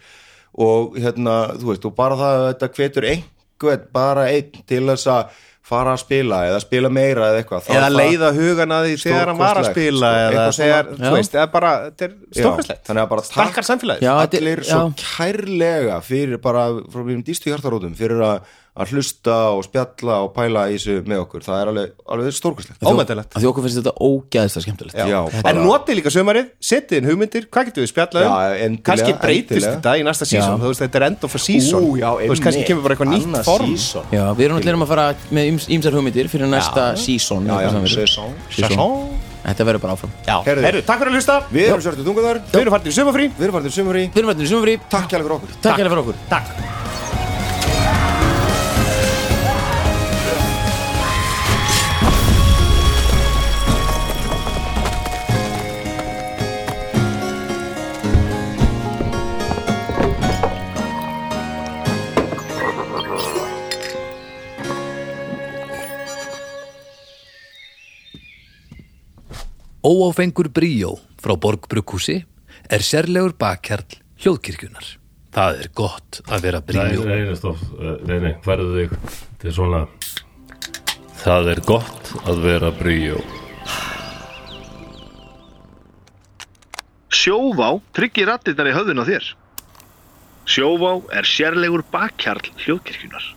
G: og hérna, þú veist, og bara það að þetta hvetur einhvern, bara einn til þess að fara að spila eða spila meira eða eitthvað Þá
E: eða
G: það-
E: leiða hugan að því þegar hann var að
G: Stórkostlegt,
E: spila
G: sko,
E: eða
G: eitthvað
E: þegar,
G: svona.
E: þú veist, eða bara þetta er
G: Já,
E: stórkustlegt
G: þannig að bara
E: Stakkar samfélagið
D: Já, þetta er-
G: allir svo
D: já.
G: kærlega fyrir bara frá mínum dýstu hjartarótum fyrir að, að hlusta og spjalla og pæla í þessu með okkur, það er alveg, alveg stórkastlegt
E: ómæntilegt
D: af því okkur finnst þetta ógæðislega skemmtilegt
G: Já,
E: En notið líka sömarið, setið inn hugmyndir, hvað getum við spjallað
G: Já,
E: um?
G: endilega,
E: Kanski breytist
G: endilega.
E: þetta í næsta sísón, þú veist, þetta er end of a season
G: Ú, já,
E: Þú veist, kannski
G: einmitt.
E: kemur bara eitthvað nýtt
G: Annað
E: form
G: season.
D: Já, við erum allir að fara með yms- ýmsar hugmyndir fyrir næsta season
G: Já, já,
D: eitthvað sem verður.
G: season.
D: Season. Þetta verður bara áfram
E: Já,
G: Heyrðu.
E: herru, takk fyrir að hlusta
G: Við erum sértu tunguðar,
E: Við erum farin í sömafrí
G: við erum farið til sumri
D: Við erum allir í sumfrí,
G: Takk kærlega fyrir okkur
D: takk hérna fyrir okkur
E: Takk
B: Óáfengur bríó frá Borgbrukkúsi er sérlegur bakkjarl hljóðkirkjunar. Það er gott að vera
C: Nei,
B: bríó.
C: nei, nei, stopp, Eh, nei, nei, færðu þig Þetta er svona Það er gott að vera bríó
J: Sjóvá tryggir rattirnar í höfðun á þér. Sjóvá er sérlegur bakkjarl hljóðkirkjunar.